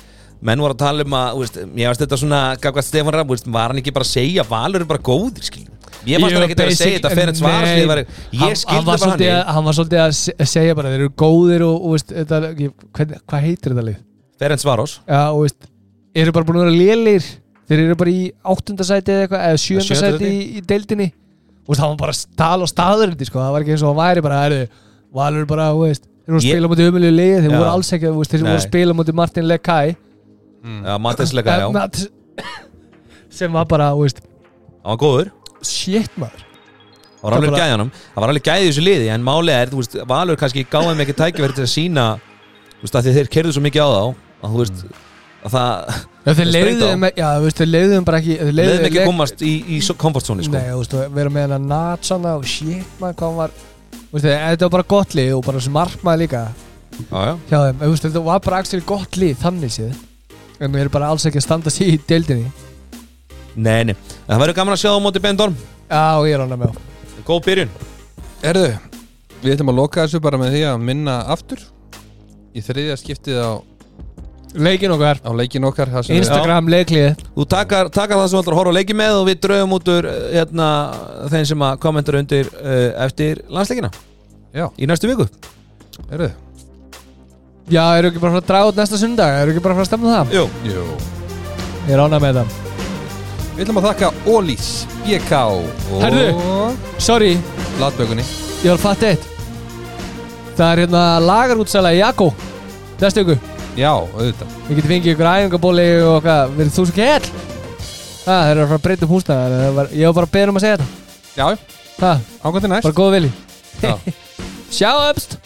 menn voru að tala um að, þú veist, mér fannst þetta svona gafkvæmt Stefán Rapp, þú veist, var hann ekki bara að segja Valur er bara góðir, skiljum ég fannst Jú, hann ekki að segja basic- þetta fyrir nei. svarslið var, ég hann, hann, skildi var bara svolítið hann að- hann var svolítið að se- segja bara þeir eru góðir og, og veist, þetta, ég, hvernig, hvað heitir þetta lið? Ferenc Varos, Já, og veist, eru bara búin að vera lélir þeir eru bara í áttundasæti eða eitthvað eða Sjöunda sjöundasæti í, í deildinni og það var bara stál og staðurindi sko. það var ekki eins og hann væri bara herri, Valur bara, þú veist, þeir voru að Ég- spila mútið umjölu liði, þeir Já. voru alls ekki þú veist, þeir voru að Nei. spila mútið Martin Lekai Mm. ja, Mattinslega, já, Hérna- hann sem var bara, þú veist, var góður shit maður Það var alveg Bara- gæðanum, það var alveg gæði í þessu liði en málið er, þú veist, Valur kannski gáðum ekki tækifæri til að sína þú veist, að því þeir kerðu svo mikið á þá að þú veist, að það Já, þeir Þeir leiðu sprengdu á. þeim, e- já, þú veist, þeir leiðu þeim bara ekki þeir leiðum ekki leik- komast í, í komfortzóni sko. Nei, þú veist, að vera með hennar natsana og shit maður, hvað hann var þú veist, þetta var bara gott lið og bara sem markmaði líka Já, já. hjá þeim, þú veist, þetta var bara axil gott lið þannig séð en við erum bara alls ekki að standa sér í deildinni Nei, nei, en það verður gaman að sjá á móti Bendorm Já, og ég er hann með á Góð byrjun Erðu, við ætlum að loka þessu bara með því að minna aftur Í þriðja skiptið á, Leikin okkar, á leikin okkar þar sem við- Instagram leiklið Þú takar, takar það sem alltaf að horfa á leiki með og við draugum út úr eh, hérna, þeim sem að kommentar undir uh, eftir landsleikina Já. í næstu viku Erðu, Já, eru ekki bara að fara að draga út næsta sundag eru ekki bara að fara að stemna það Jú, jú Ég er ánað með það Við ætlum að þakka Ólís, BK og Herðu. Sorry, Latbökunni ég var fatt eitt Það er hérna lagarútsala í Jakko Næstu ykkur, Já, auðvitað við getum fengið ykkur æfingabóli og hvað, verður þú sem kell Það, þeir eru að fara að breyta um húsnaðar Ég var bara að beða um að segja þetta Já, Það, ákvæmt til næst bara góða vilji Já. Sjáumst